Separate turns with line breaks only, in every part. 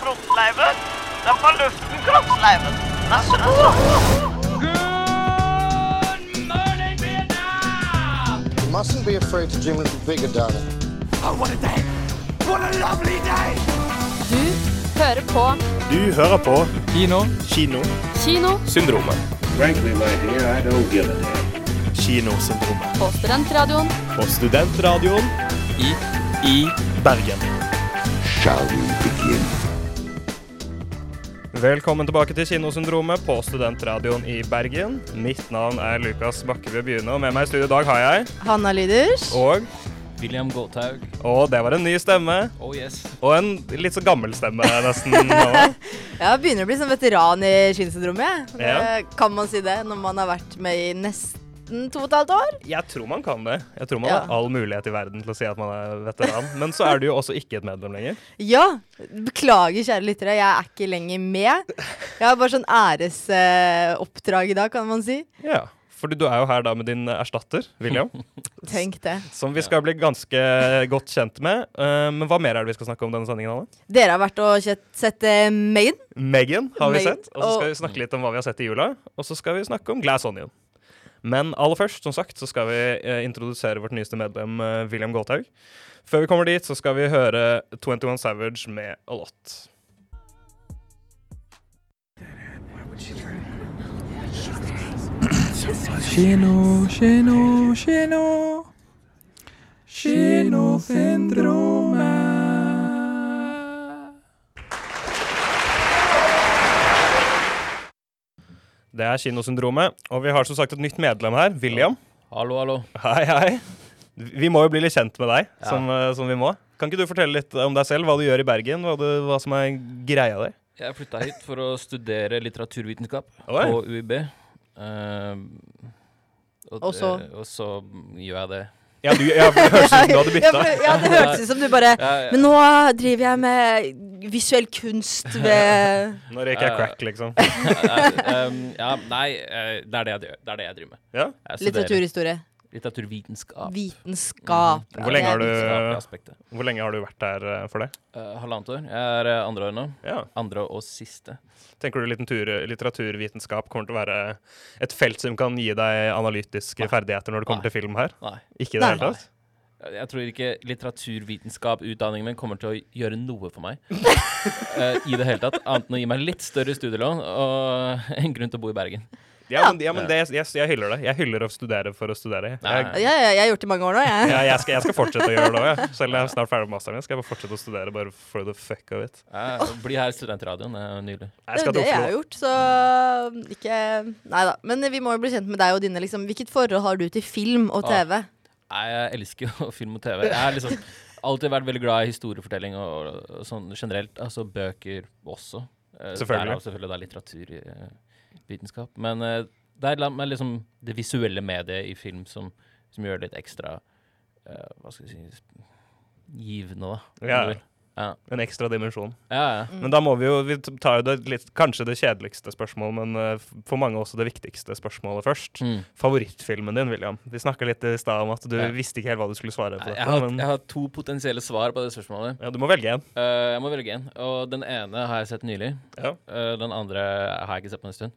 kroppsleiven. Den fra luften, kroppsleiven. Den er så god.
Good morning, Vietnam!
You mustn't be afraid to dream a little bigger, darling.
Oh, what a day! What a lovely day!
Du hører på
Du hører på
Kino.
Kino.
Kino
Syndromet.
Frankly, my dear, I don't give a damn.
Kinosyndromet.
på Studentradioen.
På Studentradioen
I. I.
Bergen. Velkommen tilbake til Kinosyndromet på Studentradioen i Bergen. Mitt navn er Lukas Bakkebø Byune, og med meg i studio i dag har jeg
Hanna Lyders.
Og
William Gåthaug.
Og det var en ny stemme.
Oh yes.
Og en litt så gammel stemme, nesten. nå.
Ja, jeg begynner å bli sånn veteran i skinnsyndromet. jeg.
Ja.
Det- Kan man si det når man har vært med i nesten to og et halvt år?
Jeg tror man kan det. Jeg tror man
Ja.
har all mulighet i verden til å si at man er veteran. Men så er du jo også ikke et medlem lenger.
Ja. Beklager, kjære lyttere, jeg er ikke lenger med. Jeg har bare sånn æresoppdrag i dag, kan man si.
Ja, fordi du er jo her da med din erstatter, William.
Tenk det.
Som vi skal bli ganske godt kjent med. Eh, men hva mer er det vi skal snakke om denne sendingen? Anne?
Dere har vært og sett, sett eh, Maiden.
Megan har vi
Meg-
sett, og så skal
og-
vi snakke litt om hva vi har sett i jula. Og så skal vi snakke om Glass Onion. Men aller først, som sagt, så skal vi eh, introdusere vårt nyeste medlem, eh, William Gåthaug. Før vi kommer dit, så skal vi høre 21 Savage med A Lot.
Kino, kino, kino. Kinosyndromet.
Det er Kinosyndromet, og vi har som sagt et nytt medlem her, William.
Hallo, hallo.
Hei, hei. Vi må jo bli litt kjent med deg,
Ja.
som, eh, som vi må. Kan ikke du fortelle litt om deg selv, hva du gjør i Bergen, hva, du, hva som er greia der?
Jeg flytta hit for å studere litteraturvitenskap
Oi.
på UiB. Eh,
Og så-
eh, og så gjør jeg det.
Ja, du, ja, det høres ut som du hadde
Ja,
bytta.
for- ja, det hørtes ut som du bare
Jeg,
Men nå driver jeg med visuell kunst ved
Nå røyker jeg crack, liksom.
Eh, um, ja, nei, eh, det er det jeg, gjør. det er det jeg driver med.
Ja.
Jeg studerer
litteraturhistorie.
Litteraturvitenskap.
Vitenskap.
Ja,
Hvor lenge
det
har
er
du-
vitenskapelig aspektet.
Hvor lenge har du vært der eh, for det?
Eh, halvannet år. Jeg er eh, andre år nå.
Ja.
Andre og siste.
Tenker du litteratur, litteraturvitenskap kommer til å være et felt som kan gi deg analytiske
Nei.
ferdigheter når det kommer
Nei.
til film her?
Nei.
Ikke i det
Nei.
hele tatt?
Jeg jeg tror ikke litteraturvitenskap-utdanningen min kommer til å gjøre noe for meg. Eh, I det hele tatt. Annet enn å gi meg litt større studielån og en grunn til å bo i Bergen.
Ja, men, ja, men det, jeg, jeg hyller det. Jeg hyller å studere for å studere. Jeg,
Nei.
Ja, ja, jeg har gjort det i mange år nå, jeg.
ja, jeg, skal, jeg skal fortsette å gjøre det òg, jeg. Selv om jeg er snart ferdig med masteren min, skal jeg bare fortsette å studere bare for the fuck of it.
Eh, bli her i studentradioen. Det er jo nydelig.
Jeg
det er
skal
jo det
til
jeg har
Oslo.
gjort, så um, ikke Nei da. Men eh, vi må jo bli kjent med deg og dine, liksom. Hvilket forhold har du til film og
Ah.
TV?
Nei, jeg elsker jo film og TV. Jeg har liksom alltid vært veldig glad i historiefortelling og, og sånn generelt. Altså bøker også. Eh,
Selvfølgelig.
Derav selvfølgelig det er litteratur i eh, vitenskap. Men eh, det er la- men liksom det visuelle mediet i film som, som gjør det litt ekstra eh, Hva skal vi si sp- Givende, da. om
Ja. Mm.
du vil. Ja.
En ekstra dimensjon.
Mm.
Ja, ja.
Men da må vi jo Vi tar jo det litt Kanskje det kjedeligste spørsmålet, men eh, f- for mange også det viktigste spørsmålet først.
Mm.
Favorittfilmen din, William. Vi snakka litt i stad om at du
Ja.
visste ikke helt hva du skulle svare på
Jeg,
dette.
har,
men-
jeg har to potensielle svar på det spørsmålet.
Ja, du må velge en.
Eh, jeg må velge en. Og den ene har jeg sett nylig.
Ja.
Eh, den andre har jeg ikke sett på en stund.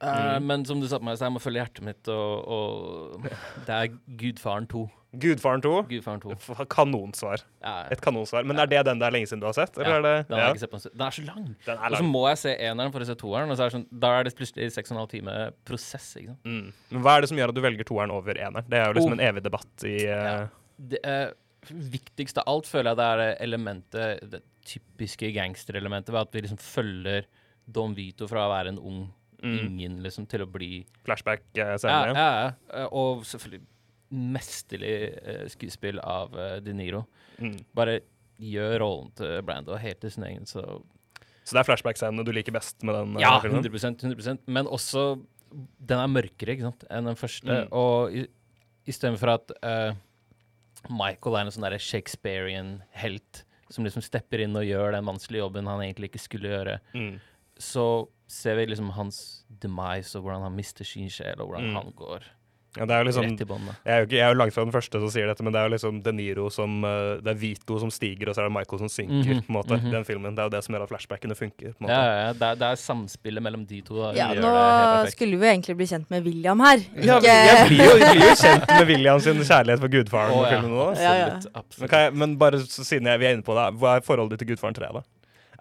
Mm.
Eh, Men som du sa på meg, så jeg må følge hjertet mitt, og, og det er Gudfaren 2.
Gudfaren 2.
Gudfaren 2.
F- Kanonsvar.
Ja, ja.
Et kanonsvar. Men er det den det er lenge siden du har sett? Eller
Ja,
er det
Den har jeg ikke sett på en stund. Den er så lang!
Den er
Og så
lang.
må jeg se eneren for å se toeren, og så er det sånn, da er det plutselig seks og en halv time prosess. ikke sant?
Mm. Men hva er det som gjør at du velger toeren over eneren? Det er jo liksom
Oh.
en evig debatt i eh,
Det eh, viktigste av alt føler jeg det er det elementet, det typiske gangsterelementet, ved at vi liksom følger Don Vito fra å være en ung
Mm.
ingen liksom, til å bli Ja,
flashback-scenen.
ja, ja. Eh, Og selvfølgelig mesterlig eh, skuespill av eh, De Niro.
Mm.
Bare gjør rollen til Brando helt til sin egen, så
Så det er flashback-scenene du liker best med den eh,
Ja,
filmen?
100 100 Men også Den er mørkere ikke sant, enn den første.
Mm.
Og i- istedenfor at eh, Michael er en sånn derre Shakespearean-helt som liksom stepper inn og gjør den vanskelige jobben han egentlig ikke skulle gjøre,
Mm.
så ser vi liksom hans demise og hvordan han mister sin sjel, og hvordan
Mm.
han går
Ja, det er jo liksom,
Rett i båndet.
jeg er jo ikke, jeg er jo langt fra den første som sier dette, men det er jo liksom De Niro som eh, Det er Vito som stiger, og så er det Michael som synker,
Mhm,
på en måte.
mhm.
Den filmen. Det er jo det som gjør at flashbackene funker. på en måte.
Ja, ja, ja. Det, er, det er samspillet mellom de to. Da.
Ja,
som gjør
nå
det helt perfekt.
skulle vi jo egentlig bli kjent med William her.
Ja,
Ikke-
jeg blir jo, jeg blir jo kjent med William sin kjærlighet for gudfaren
Å,
og
ja.
filmen nå. altså.
Ja, ja.
Absolutt,
Men,
absolutt.
kan jeg, men bare s- siden jeg, vi er inne på det, hva er forholdet ditt til Gudfaren 3? da?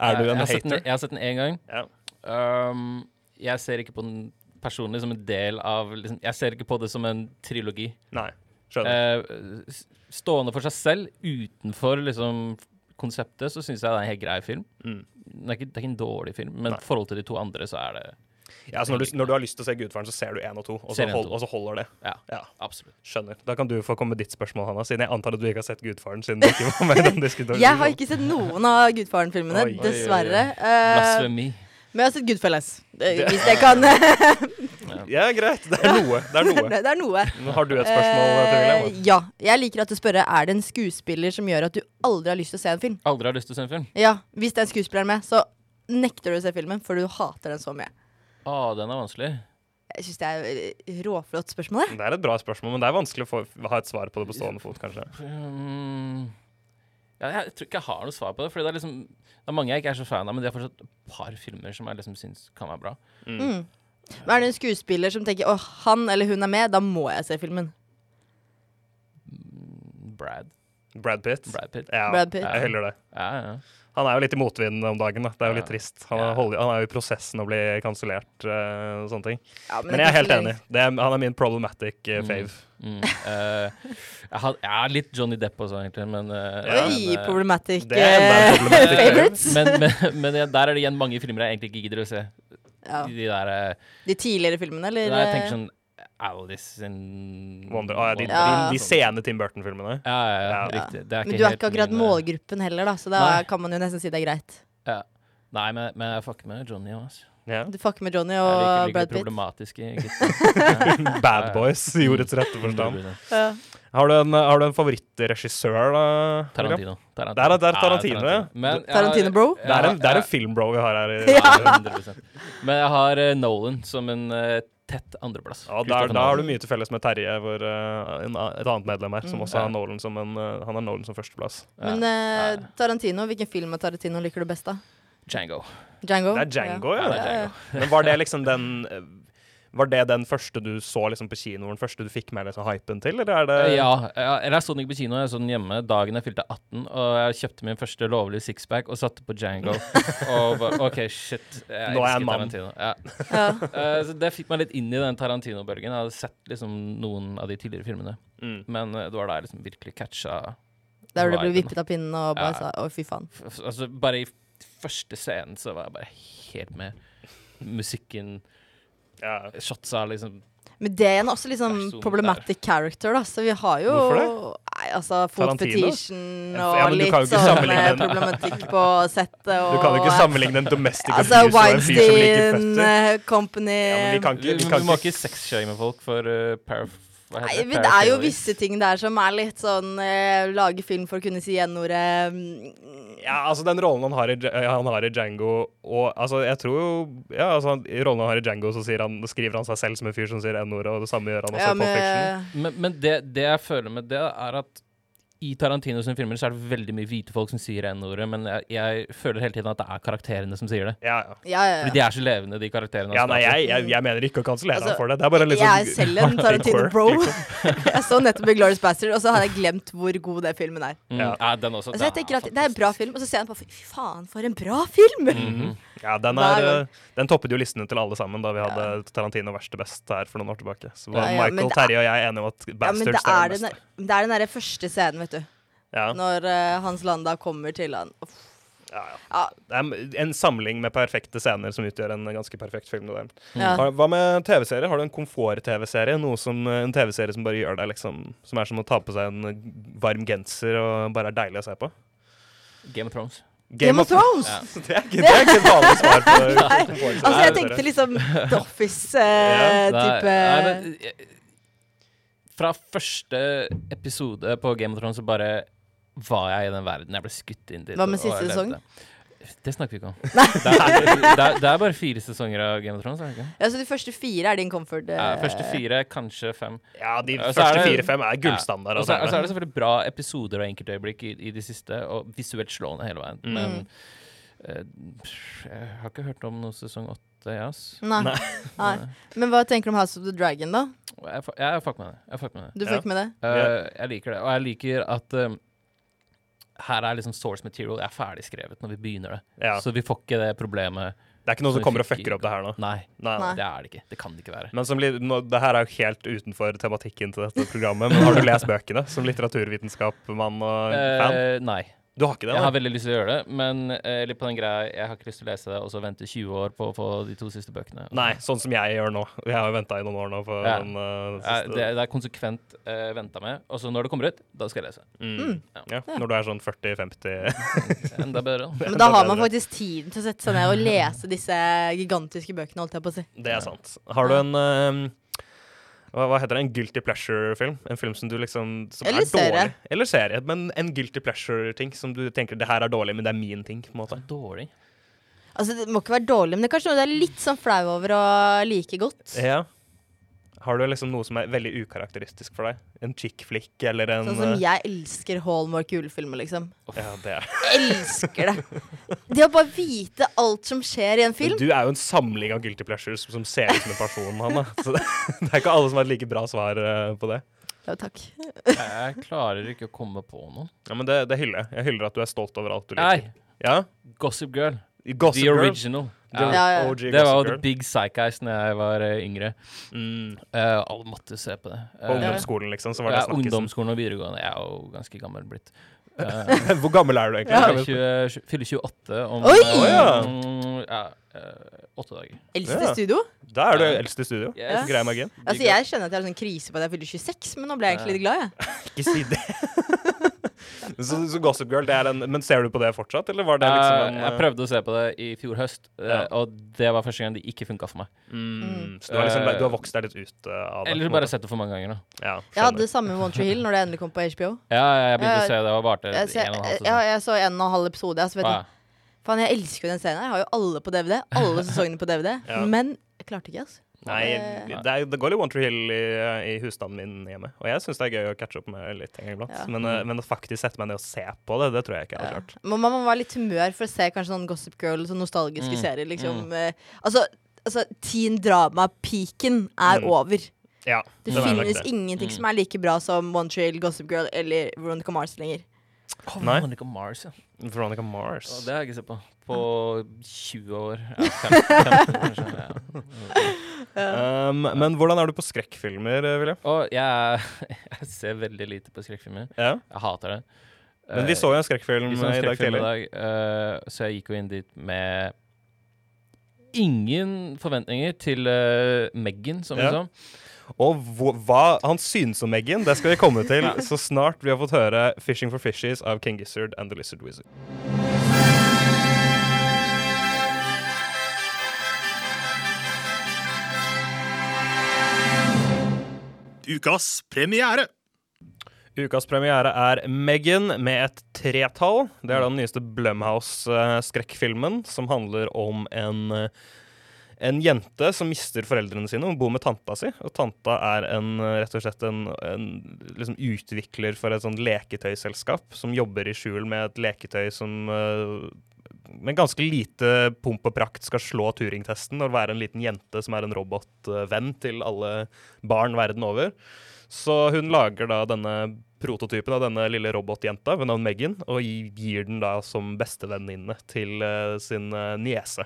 Er du
jeg,
en
har sett den,
hater?
jeg har sett den én gang.
Ja.
Um, jeg ser ikke på den personlig som en del av liksom, Jeg ser ikke på det som en trilogi.
Nei. Skjønner.
Eh, s- stående for seg selv, utenfor liksom konseptet, så syns jeg det er en helt grei film.
Mm.
Den er ikke, det er ikke en dårlig film, men
Nei.
i forhold til de to andre, så er det
ja, så når, du, når du har lyst til å se Gudfaren, så ser du én og to, og
Ser
så,
en og
hold,
to.
og så holder det.
Ja,
Ja,
absolutt.
Skjønner. Da kan du få komme med ditt spørsmål, Hanna, siden jeg antar at du ikke har sett Gudfaren. siden du ikke var med i den diskusjonen.
Jeg har ikke sett noen av Gudfaren-filmene,
Oi, oi, oi, oi.
dessverre. Eh,
Blasfemi.
men jeg har sett Goodfellas. Det- Hvis jeg kan det,
Ja, greit. Det er noe. Det er noe.
det er noe.
Men Har du et spørsmål til William?
Eh, ja. Jeg liker at du spør er det en skuespiller som gjør at du aldri har lyst til å se en film.
Aldri har lyst til å se en film.
Ja, Hvis det er en skuespiller med, så nekter du å se filmen, for du hater den så mye.
Å, den er vanskelig.
Jeg syns det er eh, råflott spørsmål. jeg.
Det er et bra spørsmål, men det er vanskelig å få, ha et svar på det på stående fot, kanskje.
Mm. Ja, jeg tror ikke jeg har noe svar på det. Fordi det er liksom Det er mange jeg ikke er så fan av, men de har fortsatt et par filmer som jeg liksom syns kan være bra.
Mm. Men er det en skuespiller som tenker å, han eller hun er med, da må jeg se filmen.
Brad.
Brad Pitt.
Brad Pitt.
Ja,
Brad Pitt.
jeg hyller det.
Ja, ja.
Han er jo litt i motvinden om dagen. da. Det er jo
Ja.
litt trist. Han,
Ja.
holder, han er jo i prosessen å bli kansellert eh, og sånne ting.
Ja,
Men jeg er helt enig. Det er, han er min problematic eh, fave.
Mm. eh, jeg, har, jeg har litt Johnny Depp også, egentlig, men eh,
Ja,
Oi,
men, eh,
problematic
Det er enda en
eh,
problematic fave.
favorites.
men, men, men ja, der er det igjen mange filmer jeg egentlig ikke gidder å se.
Ja.
De der eh,
De tidligere filmene, eller?
Nei, jeg tenker
eh,
sånn Alice in
Wonder, ah, ja, de,
Ja.
de, de sene Tim Burton-filmene.
Ja, ja, ja,
Ja.
riktig. Det er
Men du er
helt
ikke akkurat
min, eh,
målgruppen heller, da, så da
Nei.
kan man jo nesten si det er greit.
Ja. Nei, men, men jeg fucker med Johnny òg, altså.
Ja.
Du fucker med Johnny
Jeg liker
og
liker
Brad Pitt.
problematiske gutter.
Bad Boys i ordets rette forstand.
Ja.
Har du en, har du en favorittregissør, da? William?
Tarantino. Tarantino.
Der er- der er Tarantino, ja.
Men jeg har-
Tarantino, bro.
jeg
Det er, en,
har-
det er en filmbro vi har her. i
Ja.
ja.
100%. Men jeg har eh, Nolan som en eh, tett andreplass.
der,
Christopher
da har du
Nolan.
mye til felles med Terje, vår, eh, en, et annet medlem her, som også
Ja.
har Nolan som, en, eh, han har Nolan som førsteplass.
Men eh, Tarantino, hvilken film av Tarantino liker du best, da?
Django.
Django?
Det er Django, ja.
Ja, det er
ja.
Men var det liksom den eh, Var det den første du så liksom på kino, den første du fikk med liksom hypen til, eller er det
Ja, ja, eller jeg så den ikke på kino, jeg så den hjemme dagen jeg fylte 18, og jeg kjøpte min første lovlige sixpack og satte på Django. og bare, OK, shit. Jeg
Nå er jeg
elsker
mann.
Tarantino. Ja.
Ja.
Eh, så det fikk meg litt inn i den Tarantino-bølgen. Jeg hadde sett liksom noen av de tidligere filmene,
Mm.
men eh, det var da jeg liksom virkelig catcha
Der du ble
viben.
vippet av pinnen og bare
Ja.
sa å, fy faen.
F- f- Altså, bare i f- første scenen så var jeg bare helt med. Musikken,
Ja.
shotsa, liksom
Men det igjen er også litt
Det er så
sånn
mye
problematic character, da. Så vi har jo
Hvorfor
Nei, altså fot
Tarantino?
fetishen
Ja,
og
men du
litt
kan jo ikke
sånn eh,
sammenligne den.
problematikk på settet og
Du kan jo ikke sammenligne en domestic
Altså
abuse og en fyr som liker
Weinstein
føtter.
eh, Company
Ja, men vi kan ikke,
Vi,
vi
vi
kan
eh, må
ikke
ikke sexshame folk for eh, paraf... Hva
Nei,
heter
men det er jo
Paraphilia.
visse ting der som er litt sånn eh, Lage film for å kunne si n-ordet. mm,
ja, altså Den rollen han har, i, Ja, han har i Django og altså jeg tror jo ja, altså, han- I rollen han har i Django, så sier han, skriver han seg selv som en fyr som sier N-ordet, og det samme gjør han også
Ja,
i Pulp Fiction.
men eh,
Men, men det, det jeg føler med det, er at i Tarantino sine filmer så er det veldig mye hvite folk som sier N-ordet, men jeg, jeg føler hele tiden at det er karakterene som sier det.
Ja, ja.
ja, ja, ja.
Fordi de er så levende, de karakterene. han
ja nei,
skaper.
jeg, jeg, jeg mener ikke å kansellere
Altså,
han for det. Det er bare litt
Jeg er
sånn-
selv en
artig quirk,
Tarantino-bro.
liksom.
jeg så nettopp Glorious Bastard, og så hadde jeg glemt hvor god den filmen er.
Mm, ja.
Ja.
den også.
Altså, jeg
den
tenker
er
at Det er en bra
fantastisk.
film, og så ser jeg den på Fy faen, for en bra film!
Mhm.
Ja, den,
Hver
er,
gang.
eh, den toppet jo listene til alle sammen da vi hadde Tarantino verst til best her for noen år tilbake. Så var
Ja, ja, men
Michael,
det er-
Terje og jeg er enige om at
Ja, men
Bastards
det er,
det
den,
beste.
der, det er den derre første scenen, vet du.
Ja,
Når eh, Hans Landa kommer til han. Uff.
ja, ja.
Ja,
Det er en samling med perfekte scener som utgjør en ganske perfekt film. Det der.
ja.
Har- Hva med TV-serier? Har du en komfort-TV-serie? Noe som, eh, En TV-serie som bare gjør deg liksom Som er som å ta på seg en eh, varm genser og bare er deilig å se på?
Game of Thrones.
Game of Thrones!
Ja.
Det er ikke, det er ikke et vanlig svar på komfortserie.
Altså, jeg tenkte liksom The eh,
Ja,
Office-type
Nei, men, eh, fra første episode på Game of Thrones så bare var jeg i den verden. Jeg ble skutt inn dit.
Hva med
og- og
siste
jeg levde. Det snakker vi ikke om. Det er, det, er, det er bare fire sesonger av Game of Thrones. Er det ikke?
Ja, så de første fire er din comfort? eh,
Ja, første fire, kanskje fem.
Ja, de
Og så er
første
det-
fire-fem er gullstandard.
Ja. Og så er, og så er det
Altså.
selvfølgelig bra episoder og enkeltøyeblikk i, i de siste, og visuelt slående
mm,
hele veien.
Mm.
Men eh, pff, jeg har ikke hørt om noen sesong åtte, jeg, ass.
Nei. Nei. Men hva tenker du om House of the Dragon, da?
Og Jeg, fa- jeg, jeg fuck med det. Jeg fuck med det.
Du
Ja.
får ikke med det?
Ja.
Eh, jeg liker det. Og jeg liker at eh, her er liksom source material er ferdigskrevet når vi begynner det.
Ja.
Så vi får ikke det problemet.
Det er ikke noen
vi
som kommer og
fikk i-
fucker opp det her nå.
Nei,
Nei, nei.
Nei.
det er det ikke. Det kan det ikke være.
Men som, li- nå, det her er jo helt utenfor tematikken til dette programmet, men har du lest bøkene som litteraturvitenskapsmann og fan?
Eh, nei.
Du har ikke det? da?
Jeg har veldig lyst til å gjøre det, men eh, litt på den greia jeg har ikke lyst til å lese det og så vente 20 år på å få de to siste bøkene.
Nei, sånn som jeg gjør nå. Jeg har jo venta i noen år nå. På
Ja.
den, eh,
Eh,
siste.
det, det er konsekvent uh, venta med, og så når det kommer ut, da skal jeg lese.
Mm. Ja, når du er sånn 40-50
Enda bedre.
Men da
enda
har man
bedre.
faktisk tiden til å sette seg ned og lese disse gigantiske bøkene, holdt jeg på å si.
Det er sant. Har du en ehm, hva, hva heter det? En guilty pleasure-film? En film som du liksom som
Eller
er
serie.
dårlig. Eller serie. Men en guilty pleasure-ting som du tenker det her er dårlig, men det er min ting. på en måte.
Dårlig.
Altså, Det må ikke være dårlig, men det er kanskje noe du er litt sånn flau over å like godt.
Ja. Har du liksom noe som er veldig ukarakteristisk for deg? En chick flick eller en
Sånn som
eh,
jeg elsker Hallmark julefilmer, liksom.
Ja, det er.
Elsker det! Det å bare vite alt som skjer i en film.
Du er jo en samling av guilty pleasures som ser ut som en person, Hanna. Så det, det er ikke alle som har et like bra svar eh, på det.
Ja, takk.
Jeg, jeg klarer ikke å komme på noen.
Ja, Men det, det hyller jeg. Jeg hyller at du er stolt over alt du liker.
Nei,
Ja?
Gossip Girl.
Gossip
The
Girl.
original.
The
Ja, ja.
OG
Det var jo
Gossip
the
Girl.
big psychies da jeg var eh, yngre.
Mm.
Eh, alle måtte se på det. Eh,
På ungdomsskolen, liksom, så var det
ja,
snakkisen.
ungdomsskolen og videregående. Jeg er jo ganske gammel blitt. Eh,
Hvor gammel er du
jeg er
egentlig?
20, fyller 28 om
Oi!
eh,
ja.
mm, ja, eh, åtte dager.
Eldste
Ja.
studio.
Da er du eldst i studio.
Yes.
Grei margin.
Altså, Jeg kjenner at jeg har sånn krise på at jeg fyller 26, men nå ble jeg egentlig litt glad. jeg.
Ikke si det. så, så Gossip Girl, det er en Men ser du på det fortsatt, eller var det
Eh,
liksom en
jeg prøvde å se på det i fjor høst, eh,
Ja.
og det var første gang det ikke funka for meg.
mm, Så du har, liksom, du har vokst deg litt ut eh, av det?
Eller bare sett det for mange ganger. Da.
Ja,
Jeg
skjønner.
hadde det samme med One Tree Hill når det endelig kom på HBO.
Ja, ja, jeg begynte
Ja,
å se det og varte en
Jeg, ser,
og en halv
jeg,
sesong.
jeg så en og en halv episode. Altså, vet
Ah,
du. Faen, jeg elsker jo den serien. her. Jeg har jo alle på DVD. Alle sesongene på DVD.
Ja.
Men jeg klarte ikke, altså.
Nei, det, er, det går litt One Tree Hill i, eh, i husstanden min hjemme. Og jeg syns det er gøy å catche opp med litt en gang iblant.
Ja.
Men, eh,
Mm.
men å faktisk sette meg ned og se på det, det tror jeg ikke jeg hadde klart.
Man man må være litt humør for å se kanskje sånn Gossip Girl sånn nostalgiske
Mm.
serier. Liksom. Eh, Altså, altså, teen drama-peaken er
Mm.
over. Det
Ja, den er nok Mm.
finnes ingenting som er like bra som One Trail, Gossip Girl eller Veronica Mars lenger.
oh,
Nei.
Veronica Mars, ja.
Veronica Mars.
Å, det har jeg ikke sett på. På 20 år. Ja, 15, 15 kanskje. Ja.
Um, men hvordan er du på skrekkfilmer, eh, William?
Og jeg, jeg ser veldig lite på skrekkfilmer.
Ja.
Jeg hater det.
Men vi så jo en skrekkfilm
Eh, Vi så en
i dag
skrekkfilm i
tidlig.
dag, eh, så jeg gikk jo inn dit med ingen forventninger til eh, Meghan, som
Ja.
hun sa.
Og hva, hva han synes om Eggen, det skal vi komme til så snart vi har fått høre 'Fishing for Fishies' av King Gizzard and The Lizard Wizard.
Ukas premiere.
Ukas premiere er Meghan med et tretall. Det er da den nyeste Blumhouse-skrekkfilmen, som handler om en eh, en jente som mister foreldrene sine. Hun bor med tanta si. Og tanta er en, eh, rett og slett en, en liksom utvikler for et sånt leketøyselskap som jobber i skjul med et leketøy som eh, med ganske lite pomp og prakt skal slå Turing-testen og være en liten jente som er en robotvenn til alle barn verden over. Så hun lager da denne prototypen av denne lille robotjenta ved navn Megan, og gi- gir den da som bestevenninne til eh, sin eh, niese.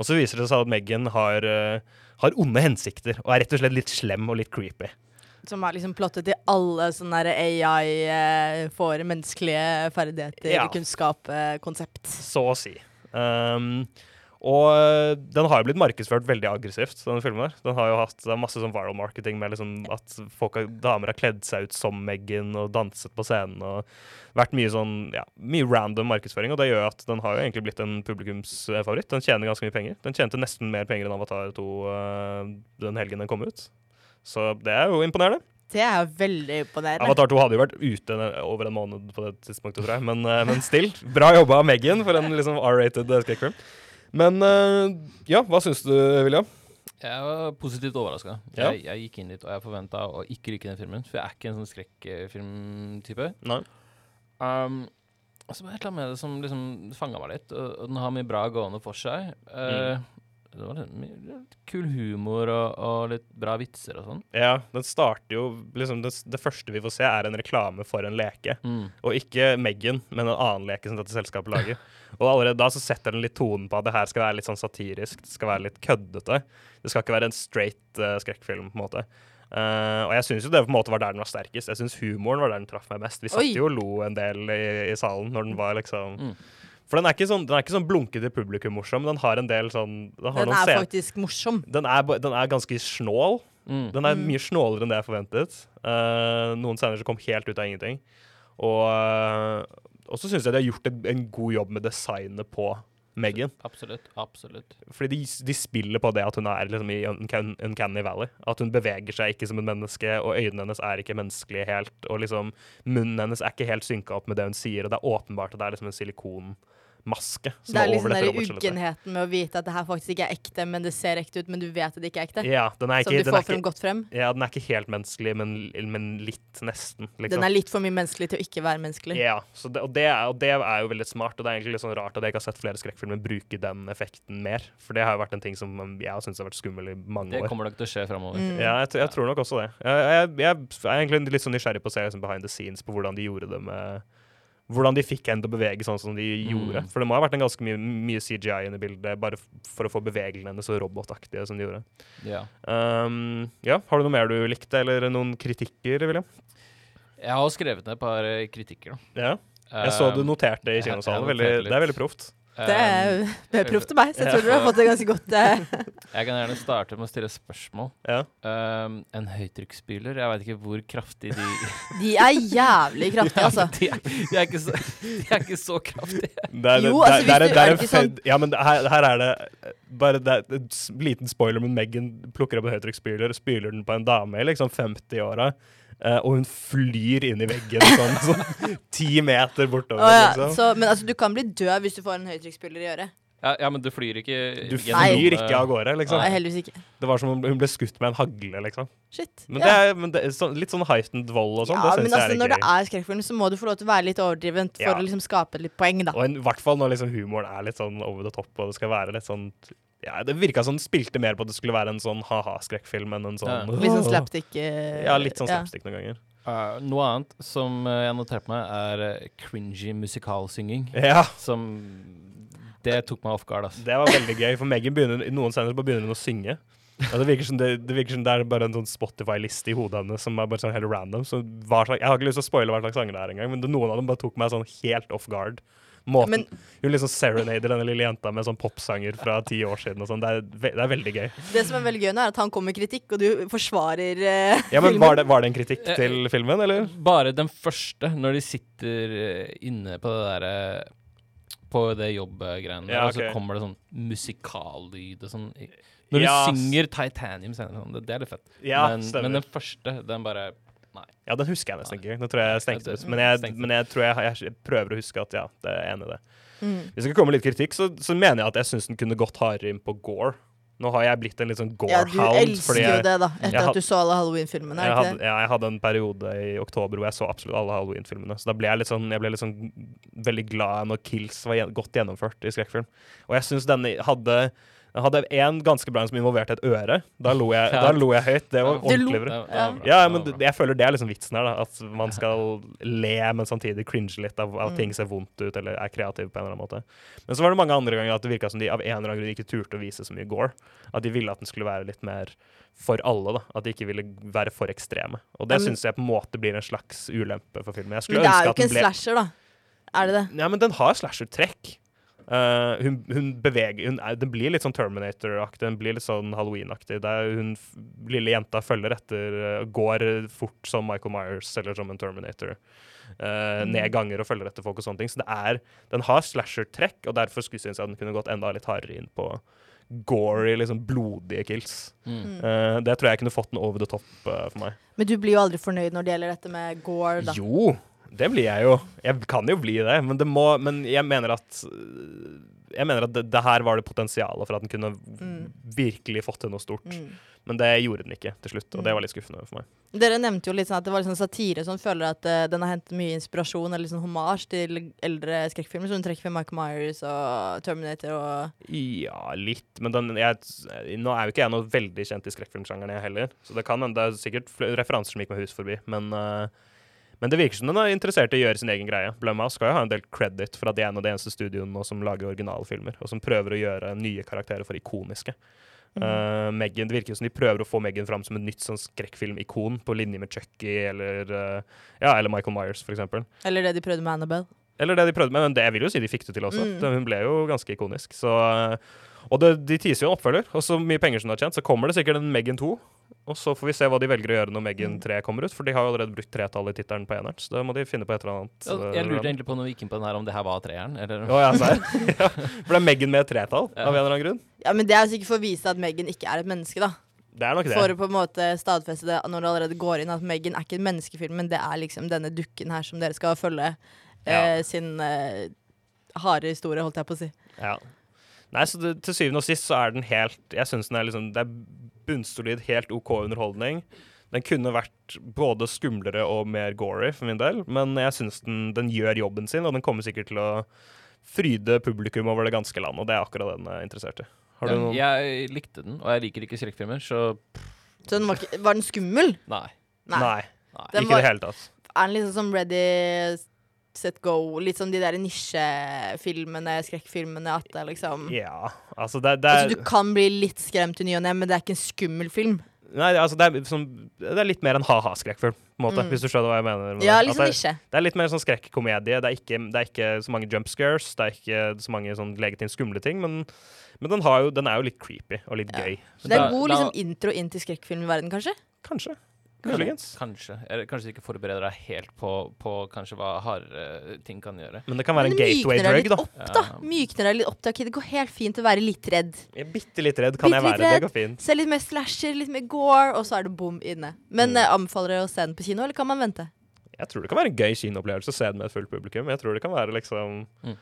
Og så viser det seg at Megan har, eh, har onde hensikter og er rett og slett litt slem og litt creepy.
Som er liksom plottet i alle sånne der AI eh, får menneskelige ferdigheter,
Ja.
kunnskap, eh, konsept.
Så å si. Um, og eh, den har jo blitt markedsført veldig aggressivt, denne filmen. her. Den har jo hatt det er masse sånn viral marketing med liksom at folk har, damer har kledd seg ut som Meghan og danset på scenen og vært mye sånn ja, mye random markedsføring. Og det gjør at den har jo egentlig blitt en publikumsfavoritt. Den tjener ganske mye penger. Den tjente nesten mer penger enn Avatar 2 eh, den helgen den kom ut. Så det er jo imponerende.
Det er jo veldig imponerende.
Avatar 2 hadde jo vært ute en- over en måned på det tidspunktet, tror jeg. Men, eh, men still, bra jobba av Megan for en liksom R-rated eh, skrekkfilm. Men eh, ja, hva syns du, William?
Jeg var positivt overraska.
Ja.
Jeg, jeg gikk inn dit og jeg forventa å ikke like den filmen, for jeg er ikke en sånn skrekkfilmtype.
Nei.
Um, og så var det et eller annet med det som liksom fanga meg litt, og, og den har mye bra gående for seg. Eh,
Mm.
Det var litt, mye, litt kul humor og, og litt bra vitser og sånn.
Ja, den starter jo liksom det, det første vi får se, er en reklame for en leke.
Mm.
Og ikke Megan, men en annen leke som dette selskapet lager. Og allerede da så setter den litt tonen på at det her skal være litt sånn satirisk, det skal være litt køddete. Det skal ikke være en straight eh, skrekkfilm, på en måte. Eh, og jeg syns jo det på en måte var der den var sterkest. Jeg syns humoren var der den traff meg mest. Vi satt
Oi.
jo og lo en del i, i salen når den var liksom
Mm.
For den er ikke sånn, den er ikke sånn blunkete publikum-morsom. Den har en del sånn Den, har
Den
noen
er
scen-
faktisk morsom.
den, er, ba- den er ganske snål.
Mm.
Den er mye snålere enn det jeg forventet. Eh, noen scener som kom helt ut av ingenting. Og, eh, og så syns jeg de har gjort en, en god jobb med designet på Megan.
Absolutt. Absolutt.
Fordi de, de spiller på det at hun er liksom i Uncan- Uncanny Valley. At hun beveger seg ikke som et menneske, og øynene hennes er ikke menneskelige helt. Og liksom munnen hennes er ikke helt synka opp med det hun sier, og det er åpenbart at det er liksom en silikonmaske. som
Det er
over
liksom
dette
den der
robotskjelettet.
uggenheten med å vite at det her faktisk ikke er ekte, men det ser ekte ut, men du vet at det ikke er ekte.
Ja, den er
Som
ikke,
du
den
får
er
frem
ikke,
godt frem.
ja, den er ikke helt menneskelig, men, men litt, nesten. Liksom.
Den er litt for mye menneskelig til å ikke være menneskelig.
Ja, så det, og, det er, og det er jo veldig smart, og det er egentlig litt sånn rart at jeg ikke har sett flere skrekkfilmer bruke den effekten mer, for det har jo vært en ting som jeg har syntes har vært skummel i mange
Det
år.
kommer nok til å skje framover.
Mm.
Ja, jeg, t- jeg tror nok også det. Jeg, jeg, jeg er egentlig litt sånn nysgjerrig på å se liksom, behind the scenes på hvordan de gjorde det med hvordan de fikk henne til å bevege sånn som de gjorde. For det må ha vært en ganske mye, mye CGI inne i bildet, bare f- for å få bevegelsene hennes så robotaktige som de gjorde.
Ja.
Um, ja, Har du noe mer du likte, eller noen kritikker, William?
Jeg har skrevet ned et par eh, kritikker. Da.
Ja. Jeg så du
Um,
noterte i
jeg- jeg
kinosalen.
noterte
Veldig,
litt.
det er veldig proft.
Det er,
um,
det er proft til meg, så jeg tror du har fått det ganske godt. eh.
Jeg kan gjerne starte med å stille spørsmål.
Ja.
Um, en høytrykksspyler Jeg veit ikke hvor kraftig de
De er jævlig kraftige, altså.
de, er, de, er ikke så, de er ikke så kraftige.
Det er,
Jo,
det,
altså,
det er,
hvis du-
det er,
er
en
det ikke
fed- Ja, men det- her, her er det bare det er en s- liten spoiler, men Megan plukker opp en høytrykksspyler og spyler den på en dame i liksom 50-åra. eh, og hun flyr inn i veggen sånn, sånn ti meter bortover.
Å, ja.
liksom.
så, men altså, du kan bli død hvis du får en høytrykksspyler i øret.
Ja, ja, men du flyr ikke
Du
gjennom,
flyr
eh,
ikke av gårde, liksom.
Nei, heldigvis ikke.
Det var som om hun ble skutt med en hagle, liksom.
Shit.
Men
ja.
det er, men det er sånn- litt sånn heightened vold og sånn. det
ja, men
syns jeg
altså,
er
når
gøy.
det er skrekkfilm, så må du få lov til å være litt overdrivent for
Ja.
å liksom skape litt poeng, da.
Og en- i hvert fall når liksom humoren er litt sånn over the top, og det skal være litt sånn ja, Det virka som den spilte mer på at det skulle være en sånn ha-ha-skrekkfilm enn en sånn
Ja.
Litt sånn slapstick. eh,
Ja, litt sånn slapstick noen ganger.
eh, Noe annet som eh, jeg noterte meg, er eh, cringy musikalsynging.
Ja,
Som Det tok meg off guard, altså.
det var veldig gøy, for Megan begynner i noen scener så bare begynner hun å synge. Og det virker som det, det, virker som det er bare en sånn Spotify-liste i hodet hennes som er bare sånn helt random. Så hva slags, jeg har ikke lyst til å spoile hva slags sanger det er engang, men det, noen av dem bare tok meg sånn helt off guard. Måten,
Men-
hun liksom serenader denne lille jenta med sånn popsanger fra ti år siden og sånn. Det, er ve- det er veldig gøy.
Det som er veldig gøy nå, er at han kommer med kritikk, og du forsvarer eh,
Ja, men
filmen.
var det, var det en kritikk
Eh,
til filmen, eller?
Bare den første, når de sitter eh, inne på det derre På det jobbgreiene, der,
Ja,
og så
ok.
kommer det sånn musikallyd og sånn. Når
Ja,
du
s-
synger Titanium senere, sånn, det, det er litt fett.
Ja,
men,
stemmer.
men den første, den bare
Ja, den husker jeg nesten ikke. Nå tror jeg jeg stengte
Ja,
ut.
det-
Men jeg,
stengte ut.
men jeg tror jeg, jeg prøver å huske at ja, det er enig i det.
Mm.
Hvis jeg skal komme med litt kritikk, så, så mener jeg at jeg syns den kunne gått hardere inn på Gore. Nå har jeg blitt en litt sånn
Ja, du
Gore-hound.
elsker
fordi
jo
jeg,
det, da, etter
jeg had-
at du så alle Halloween-filmene.
jeg,
er det
hadde,
ikke det?
ja, jeg hadde en periode i oktober hvor jeg så absolutt alle Halloween-filmene. Så da ble jeg litt sånn, jeg ble litt sånn veldig glad når Kills var gjen, godt gjennomført i skrekkfilm. Og jeg syns denne hadde den hadde en ganske bra en som involverte et øre. Da lo jeg,
Ja.
da lo jeg høyt. Det var
Du
lo.
ordentlig bra.
det- det
Ja.
var bra,
Ja, men
det var bra.
det- jeg føler det er liksom vitsen her, da. At man skal le, men samtidig cringe litt av
Mm.
at ting ser vondt ut, eller er kreativ på en eller annen måte. Men så var det mange andre ganger at det virka som de av en eller annen grunn ikke turte å vise så mye gore. At de ville at den skulle være litt mer for alle, da. At de ikke ville være for ekstreme. Og det
Ja, men-
syns jeg på en måte blir en slags ulempe for filmen. Jeg skulle
Men det er
ønske
jo
at
ikke
den
en
ble
slasher, da. Er det det?
Nei, men den har slasher-trekk. Eh, hun, hun beveger hun, er- Den blir litt sånn Terminator-aktig, den blir litt sånn Halloween-aktig. Der hun f- lille jenta følger etter, eh, går fort som Michael Myers eller som en Terminator. Eh, Ned ganger og følger etter folk og sånne ting. Så det er, den har slasher-trekk, og derfor skulle jeg synes jeg den kunne gått enda litt hardere inn på gory, liksom blodige kills. Eh, det tror jeg kunne fått den over the top eh, for meg.
Men du blir jo aldri fornøyd når det gjelder dette med gore, da.
Jo, det blir jeg jo. Jeg kan jo bli det, men, det må, men jeg mener at øh, Jeg mener at det, det her var det potensialet for at den kunne virkelig fått til noe stort. Men det gjorde den ikke til slutt, og det var litt skuffende for meg.
Dere nevnte jo litt sånn at det var litt sånn satire som føler at eh, den har hentet mye inspirasjon eller sånn hommage til eldre skrekkfilmer, som hun trekker frem Michael Myers og Terminator og
Ja, litt, men den, jeg, nå er jo ikke jeg noe veldig kjent i skrekkfilmsjangeren, jeg heller. Så det kan hende det er sikkert fl- referanser som gikk meg hus forbi, men øh, men det virker som den er interessert i å gjøre sin egen greie. Blumhouse skal jo ha en del credit for at de er en av de eneste studioene nå som lager originale filmer, og som prøver å gjøre nye karakterer for ikoniske. Eh, Megan, det virker jo som de prøver å få Megan fram som et nytt sånn skrekkfilmikon på linje med Chucky eller, eh, ja, eller Michael Myers, for eksempel.
Eller det de prøvde med Annabelle.
Eller det de prøvde med, men det jeg vil jo si de fikk det til også. Det- Hun ble jo ganske ikonisk. Så, eh, og det, de teaser jo en oppfølger, og så mye penger som de har tjent, så kommer det sikkert en Megan 2. Og så får vi se hva de velger å gjøre når Megan 3 kommer ut, for de har jo allerede brukt tretallet i tittelen på eneren, så da må de finne på et eller annet. eh,
Jeg, jeg lurer egentlig på når vi gikk inn på den her, om det her var treeren, eller
Å, ja, serr? ja, for det er Megan med et tretall, av en eller annen grunn.
Ja, men det er jo sikkert for å vise at Megan ikke er et menneske, da.
Det er nok det.
For å på en måte stadfeste det når det allerede går inn at Megan er ikke en menneskefilm, men det er liksom denne dukken her som dere skal følge eh, sin eh, harde historie, holdt jeg på å si.
Ja. Nei, så det, til syvende og sist så er den helt Jeg syns den er liksom Det er bunnsolid, helt OK underholdning. Den kunne vært både skumlere og mer gory for min del, men jeg syns den, den gjør jobben sin, og den kommer sikkert til å fryde publikum over det ganske land, og det er akkurat det den er interessert i. Har du noen
Ja, Jeg likte den, og jeg liker ikke skrekkfilmer, så
Så den var, ikke, var den skummel?
nei.
Nei.
Den
ikke i
var-
det hele tatt.
Er den liksom som Ready Set Go? Litt som de der nisjefilmene, skrekkfilmene, at det liksom
Ja, altså det, det er
Altså, du kan bli litt skremt i ny og ne, men det er ikke en skummel film.
Nei, altså det er, sånn, det er litt mer en ha-ha-skrekkfilm, på en måte, hvis du skjønner hva jeg mener. med
Mm. Ja,
det.
liksom
At det,
nisje.
det er litt mer sånn skrekkomedie. Det, er ikke- det er ikke så mange jump scares, det er ikke så mange sånn legitimt skumle ting, men, men den, har jo, den er jo litt creepy og litt gøy.
Det er
Da-
en god
da-
liksom, intro inn til skrekkfilmverdenen, kanskje.
Kanskje. Muligens.
Kanskje. Eller kanskje du ikke forbereder deg helt på, på kanskje hva hardere ting kan gjøre.
Men det kan være
Men
en
det
gateway
mykner deg
drug,
litt
da.
opp, da. Mykner deg litt opp, da. ok, Det går helt fint å være litt redd.
Jeg er bitte litt redd, kan jeg
Bitte litt
være. Det går
redd.
fint.
Se litt mer slasher, litt mer gore, og så er det bom inne.
Mm.
Men eh, anbefaler dere å se den på kino, eller kan man vente?
Jeg tror det kan være en gøy kinoopplevelse å se den med et fullt publikum. Jeg tror det kan være liksom
Mm.